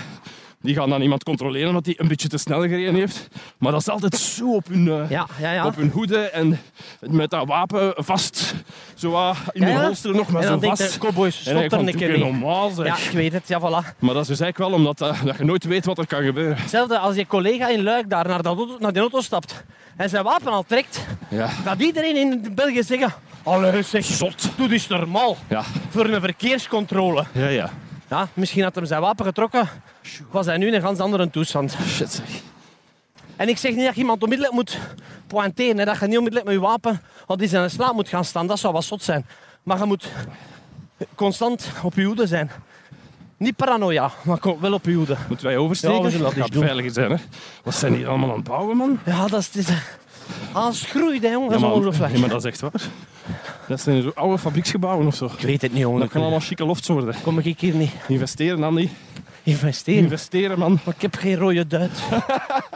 die gaan dan iemand controleren omdat hij een beetje te snel gereden heeft. Maar dat is altijd zo op hun, eh, Ja, ja, ja. op hun hoede en met dat wapen vast. Zo wat in Ja, hun ja. holster nog, maar en zo dan denkt vast. de cowboys, en hij stop er van, een doe keer geen mee. normaal zeg. Ja, ik weet het, ja voilà. Maar dat is dus eigenlijk wel omdat eh, dat je nooit weet wat er kan gebeuren. Hetzelfde als je collega in Luik daar naar, dat auto, naar die auto stapt en zijn wapen al trekt, Ja. gaat iedereen in België zeggen Allee zeg, zot, doe is normaal Ja. voor een verkeerscontrole. Ja, ja. Ja, misschien had hem zijn wapen getrokken, was hij nu in een ganz andere toestand. Shit zeg. En ik zeg niet dat je iemand onmiddellijk moet pointeren, hè, dat je niet onmiddellijk met je wapen op die zijn slaap moet gaan staan, dat zou wat zot zijn. Maar je moet constant op je hoede zijn. Niet paranoia, maar ko- wel op je hoede. Moeten wij oversteken? Ja, we zullen dat eens Gaat doen. veiliger zijn, hè. Wat zijn die allemaal aan het bouwen, man? Ja, dat is... Het is aanschroeid, hè, jongen. Dat is maar- ongelooflijk. Ja, maar dat is echt waar. Dat zijn zo oude fabrieksgebouwen of zo. Ik weet het niet, jongen. Dat kan allemaal chique lofts worden. Kom ik hier niet Investeren, Andy. investeren. Investeren, man. Maar ik heb geen rode duit. Hoe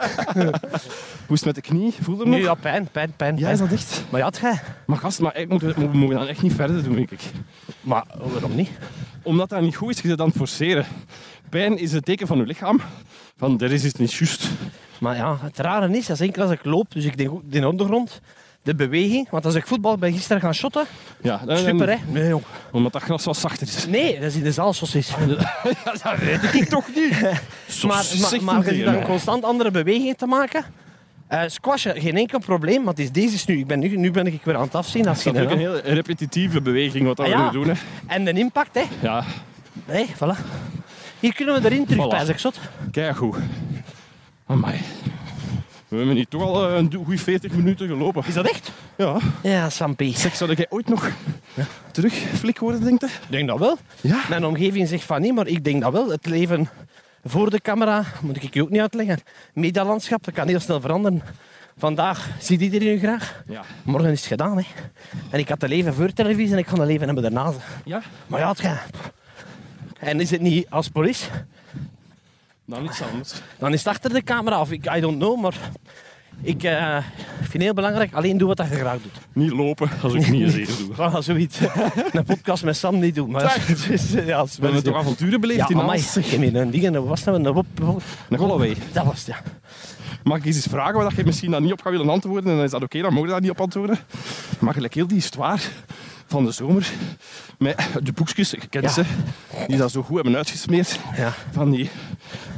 is het met de knie? Voel je er Nu, nog? ja, pijn, pijn, pijn. Ja, pijn. is dat echt? Maar ja, het gaat. Maar gast, maar ik moet, we we mogen dan echt niet verder doen, denk ik. Maar oh, waarom niet? Omdat dat niet goed is, je zit aan het forceren. Pijn is het teken van je lichaam. Van, er is iets niet juist. Maar ja, het rare is, dat is enkel als ik loop. Dus ik denk ook de ondergrond, de beweging. Want als ik voetbal ben gisteren gaan shotten, Ja, eh, dan- dan- super hè? Nee, jong. Omdat dat gras wat zachter is. Nee, dat is in de zaal sausjes. dat weet ik toch niet. Maar, maar, zegt maar je die ziet dan mij. constant andere bewegingen te maken. Eh squashen, geen enkel probleem. Want het is deze is nu, ik ben nu, nu ben ik weer aan het afzien. Dat is Dat is geen- ook een hele repetitieve beweging wat dat Ah, ja. we nu doen. Hè. En de impact, hè? Ja, Nee, voilà. Hier kunnen we erin terug, Voilà. pijs ik zot. kijk goed. Amai. We hebben niet toch al eh, een goede 40 minuten gelopen. Is dat echt? Ja. Ja, Sampie. Zeg, zou jij ooit nog terug flik worden, denk je? Ik denk dat wel. Ja. Mijn omgeving zegt van niet, maar ik denk dat wel. Het leven voor de camera, moet ik je ook niet uitleggen. Medialandschap, dat kan heel snel veranderen. Vandaag ziet iedereen u graag. Ja. Morgen is het gedaan, hè. En ik had het leven voor televisie en ik ga het leven hebben daarna. Ja? Maar ja, het gaat. En is het niet als police, Dan iets anders. dan is het achter de camera. Of ik, I don't know, maar... Ik eh, vind heel belangrijk, alleen doe wat dat je graag doet. Niet lopen als ik niet eens eerder doe. Voilà, zoiets. Een podcast met Sam niet doen. Maar Dag. dat is, eh, ja, dat is We hebben wel- toch avonturen beleefd ja, in amai. Aalst? Ik heb hier een ding en dat was dat een wop, wop. Een Holloway. Dat was het, ja. Mag ik eens iets vragen waar je misschien dan niet op gaat willen antwoorden? En dan is dat oké, dan mogen we daar niet op antwoorden. Maar gelijk heel die histoire van de zomer met de boekjes, je kent Ja. ze, die dat zo goed hebben uitgesmeerd. Ja. Van die,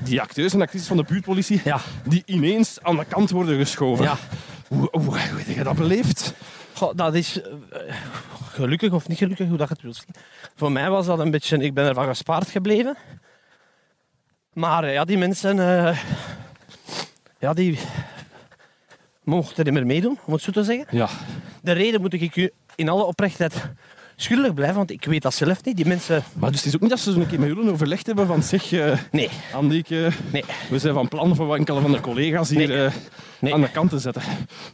die acteurs en actrices van de buurtpolitie Ja. die ineens aan de kant worden geschoven. Ja. Hoe, hoe, hoe heb je dat beleefd? Goh, dat is eh, eh, gelukkig of niet gelukkig, hoe dat je het wilt zien. Voor mij was dat een beetje, ik ben ervan gespaard gebleven. Maar eh, ja, die mensen, eh, ja, die mochten er niet meer meedoen, om het zo te zeggen. Ja. De reden moet ik u in alle oprechtheid schuldig blijven, want ik weet dat zelf niet. Die mensen, Maar dus het is ook niet dat ze zo'n keer met jullie overlegd hebben van zeg, eh nee, Andieke, nee, we zijn van plan voor enkele van de collega's hier Nee. eh, nee. aan de kant te zetten.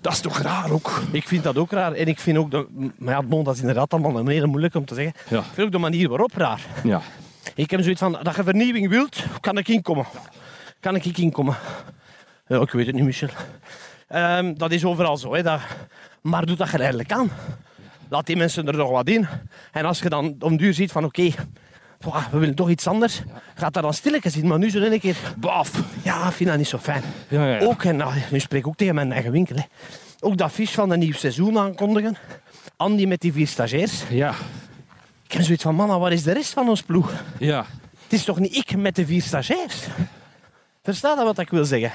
Dat is toch raar ook? Ik vind dat ook raar. En ik vind ook, de, maar ja, bon, dat is inderdaad allemaal een hele moeilijk om te zeggen. Ja. Ik vind ook de manier waarop raar. Ja. Ik heb zoiets van, dat je vernieuwing wilt, kan ik inkomen. Kan ik inkomen? Ja, ik weet het niet, Michel. Ehm, dat is overal zo. Hè, dat, maar doe dat geleidelijk aan. Laat die mensen er nog wat in. En als je dan om duur ziet van, oké, pwa, we willen toch iets anders. Gaat daar dan stilletjes in. Maar nu zo in een keer, Baf! ja, ik vind dat niet zo fijn. Ja, ja, ja. Ook, en nou, nu spreek ik ook tegen mijn eigen winkel. Hè. Ook dat fiche van een nieuw seizoen aankondigen. Andy met die vier stagiairs. Ja, Ik heb zoiets van, mama, waar is de rest van ons ploeg? ja. Het is toch niet ik met de vier stagiairs? Versta dat wat ik wil zeggen?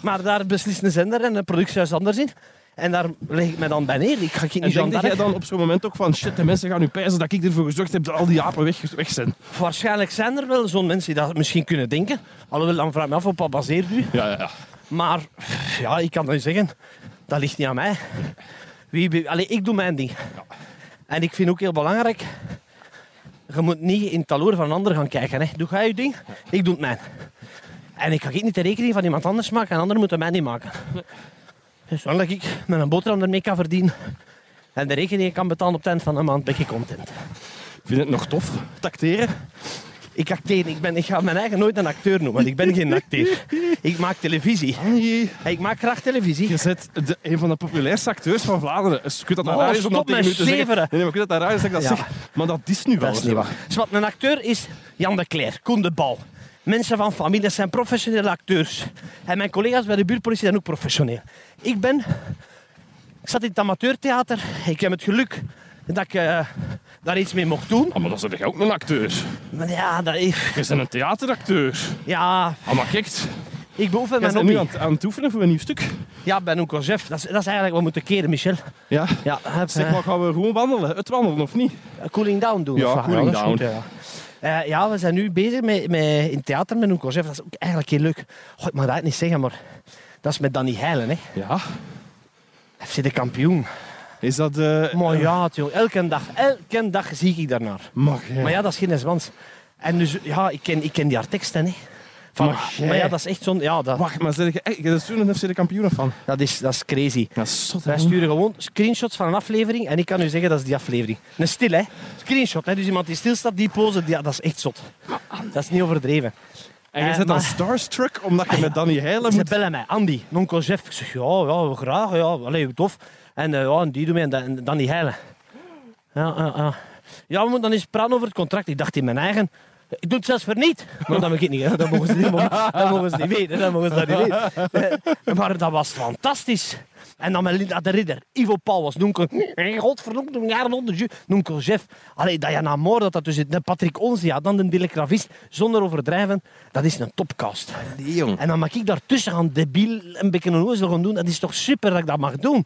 Maar daar beslist een zender en een productiehuis anders in. En daar leg ik me dan bij neer. Ik ga geen En denk dat gendarme- jij dan op zo'n moment ook van shit, de mensen gaan nu pijzen dat ik ervoor gezorgd heb dat al die apen weg, weg zijn. Waarschijnlijk zijn er wel zo'n mensen die dat misschien kunnen denken. Alhoewel, dan vraag ik me af op wat baseert u. Ja, ja, ja. Maar ja, ik kan dan zeggen, dat ligt niet aan mij. Wie, be- Allee, ik doe mijn ding. En ik vind ook heel belangrijk, je moet niet in het taloor van een ander gaan kijken. Hè. Doe jij je ding, ik doe het mijn. En ik ga ook niet de rekening van iemand anders maken, en anderen moeten mij niet maken. Dus zolang dat ik met een boterham ermee kan verdienen en de rekening kan betalen op het eind van een maand, ben ik content. Vind je het nog tof? Tacteren? Ik acteer, ik, ben, ik ga mijn eigen nooit een acteur noemen, want ik ben geen acteur. Ik maak televisie. Nee. Ik maak graag televisie. Je zet de, een van de populairste acteurs van Vlaanderen. Dus ik weet dat dat Oh, raar is om dat stop tegen met u te zeggen. Nee, zeveren. nee, maar ik weet dat dat raar is dat ik dat Ja. zeg. Maar dat is nu wel Dat is zo. niet waar. Zwart, een acteur is Jan de Cler, Koen de Bal. Mensen van familie dat zijn professionele acteurs. En mijn collega's bij de buurtpolitie zijn ook professioneel. Ik ben... Ik zat in het amateurtheater. Ik heb het geluk dat ik eh, daar iets mee mocht doen. Ah, maar dat is toch ook een acteur? Maar ja, dat is... Je bent een theateracteur. Ja, Ah, maar kijk. Je ik beoefen mijn bent nu aan, hobby. het- aan het oefenen voor een nieuw stuk. Ja, bij Onkel Jeff. Dat is, dat is eigenlijk wat we moeten keren, Michel. Ja. Ja, heb, Zeg, maar gaan we gewoon wandelen? Het wandelen of niet? eh, cooling down doen. Ja, of wat? cooling dat is goed, down. ja. Eh, ja, we zijn nu bezig met, met, in het theater met Onkel Jeff. Dat is ook eigenlijk heel leuk. Goh, ik mag dat niet zeggen, maar dat is met Danny Heilen, hè. Ja. FC de kampioen. Is dat... eh Maar ja, het, jong, elke dag, elke dag zie ik daarnaar. Mag jij? Maar ja, dat is geen zwans. En dus, ja, ik ken, ik ken die haar teksten, hè. Van, Maar jij- maar ja, dat is echt zo'n... Ja, dat, Wacht, maar zeg je... echt- Je bent zo'n FC de kampioen van. dat, is, dat is crazy. Dat is zot, hè, Wij jongen. sturen gewoon screenshots van een aflevering en ik kan u zeggen, dat is die aflevering. Een stil, hè. Screenshot, hè. Dus iemand die stilstaat, die pose, die, dat is echt zot. Dat is niet overdreven. En je Eh, zit dan maar- starstruck omdat je met Danny Heilen Ze moet... bellen mij, Andy, nonkel Jeff. Ik zeg, ja, ja graag, ja, allee, tof. En eh, ja, en die doen mij en dan- en dan die heilen. Ja, ja, ja. ja, we moeten dan eens praten over het contract. Ik dacht in mijn eigen... Ik doe het zelfs voor niet. Maar dat mag ik niet. Hè. Dat, mogen ze niet mogen, dat mogen ze niet weten. Dat mogen ze dat niet weten. Eh, Maar dat was fantastisch. En dan met Linda de Ridder. Ivo Paul was noemkel... Hey, godverdomme, noem jaren onder ju- Noemkel Jeff. Allee, Diana Moore, dat dat dus... De Patrick Onzi, ja, dan de telegravist. Zonder overdrijven. Dat is een topcast. En dan mag ik daartussen gaan debiel een beetje een ozel gaan doen. Dat is toch super dat ik dat mag doen.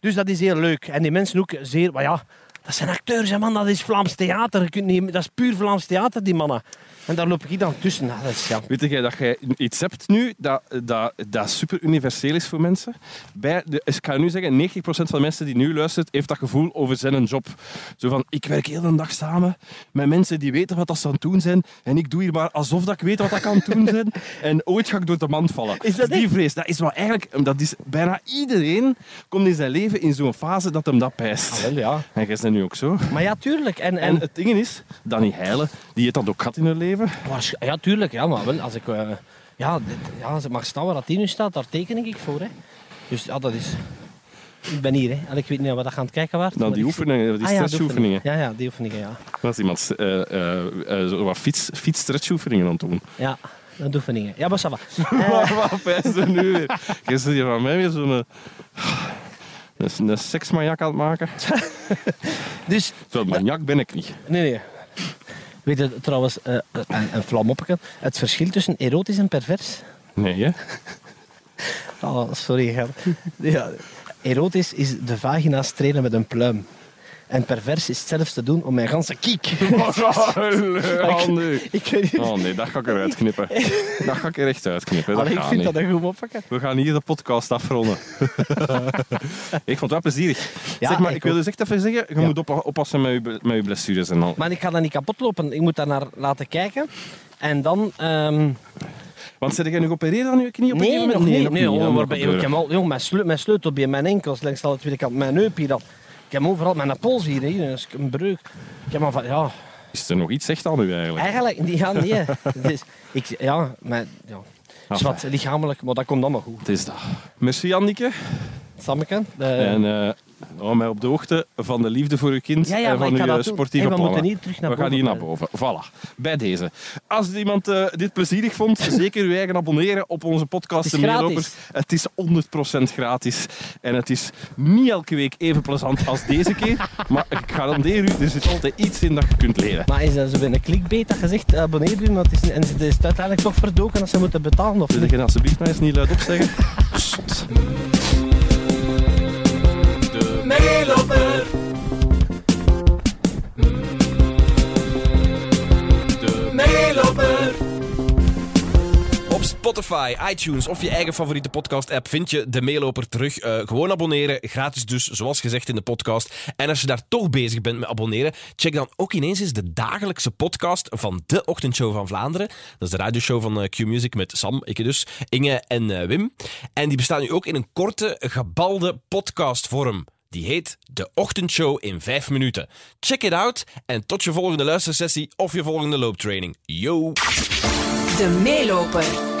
Dus dat is heel leuk. En die mensen ook zeer... Maar ja, dat zijn acteurs, hè, man. Dat is Vlaams theater. Je kunt niet, dat is puur Vlaams theater, die mannen. En daar loop ik dan tussen. Nou, dat is, ja. Weet jij dat jij iets hebt nu dat, dat, dat super universeel is voor mensen? Bij de, ik ga nu zeggen, 90% van de mensen die nu luistert, heeft dat gevoel over zijn job. Zo van, ik werk heel de dag samen met mensen die weten wat dat ze aan het doen zijn. En ik doe hier maar alsof dat ik weet wat dat ik aan het doen zijn. En ooit ga ik door de mand vallen. Dus Is dat die echt? vrees. Dat is wel eigenlijk, dat is, bijna iedereen komt in zijn leven in zo'n fase dat hem dat pijst. ja. En jij bent nu ook zo. Maar ja, tuurlijk. En, en, En het ding is, Danny Heilen, die heeft dat ook gehad in haar leven. waarsch- ja, tuurlijk. Ja, maar wel, als ik... eh, ja, dit- ja, als ik mag staan waar dat in nu staat, daar teken ik voor, hè. Dus ja, dat is... Ik ben hier, hè. En ik weet niet wat dat aan het kijken was. Nou, die oefeningen, die Ah, ja, de stretchoefeningen. Ja, ja, die oefeningen, ja. Dat is iemand eh, eh, eh, zo wat fiets, fietsstretchoefeningen aan het doen. Ja, de oefeningen. Ja, maar ça va. Waar waar pijst er nu weer? Je zit hier van mij weer zo'n... eh, Een, een seksmaniak aan het maken. Dus, Zo'n maniak ben ik niet. nee, nee. Weet je trouwens, eh, een, een vlamoppeken, het verschil tussen erotisch en pervers? Nee, hè? Oh, sorry, Ger. Ja. Erotisch is de vagina strelen met een pluim. En pervers is zelfs te doen om mijn ganse kiek. Oh, nee. Ik weet niet. Oh nee, dat ga ik eruit knippen. Dat ga ik er echt uitknippen. Dat Allee, ik gaat vind niet. dat een goed oppakken. We gaan hier de podcast afronden. ik vond het wel plezierig. Ja, zeg maar, ik ik wil dus echt even zeggen, je Ja. moet oppa- oppassen met je, ble- met je blessures en al. Maar ik ga dat niet kapot lopen. Ik moet daar naar laten kijken. En dan... ehm, Want zit jij nu geopereerd aan je knie op een nee, gegeven nog moment? niet. nog Nee, Dat hoor, moet maar bij- ik gebeuren. heb al, jong, mijn, sleu- mijn sleutel bij mijn enkels, langs aan de tweede kant, mijn heup hier al. Ik heb overal mijn pols hier, hier dus een breuk. Ik heb al van, ja, Is er nog iets echt aan u eigenlijk? eigenlijk, die gaan niet. hè. Het is- ik, ja, maar, ja. Ah, Zwart, lichamelijk, maar dat komt allemaal goed. Het is dat. Merci Anneke. Sammeke. En eh, hou mij op de hoogte van de liefde voor uw kind Ja, ja, en maar van ik ga uw eh, dat doen. sportieve Hey, we plannen. moeten niet terug naar we gaan boven hier naar boven. Voilà. Bij deze. Als iemand eh, dit plezierig vond, zeker uw eigen abonneren op onze podcast Het De is Meelopers. Het is 100% gratis. En het is niet elke week even plezant als deze keer. maar ik garandeer u, er zit altijd iets in dat je kunt leren. maar is dat zo bij een clickbait dat gezegd, abonneer u, want het is, en ze is het uiteindelijk toch verdoken als ze moeten betalen of Wil niet? je dat alsjeblieft nou eens niet luid opzeggen? Soms. De meeloper. De meeloper. Op Spotify, iTunes of je eigen favoriete podcast-app vind je de meeloper terug. Eh, gewoon abonneren, gratis dus, zoals gezegd in de podcast. En als je daar toch bezig bent met abonneren, check dan ook ineens eens de dagelijkse podcast van de Ochtendshow van Vlaanderen. Dat is de radioshow van eh, Q-Music met Sam, ik dus, Inge en eh, Wim. En die bestaat nu ook in een korte, gebalde podcastvorm. Die heet De Ochtendshow in 5 minuten. Check it out en tot je volgende luistersessie of je volgende looptraining. Yo! De meeloper.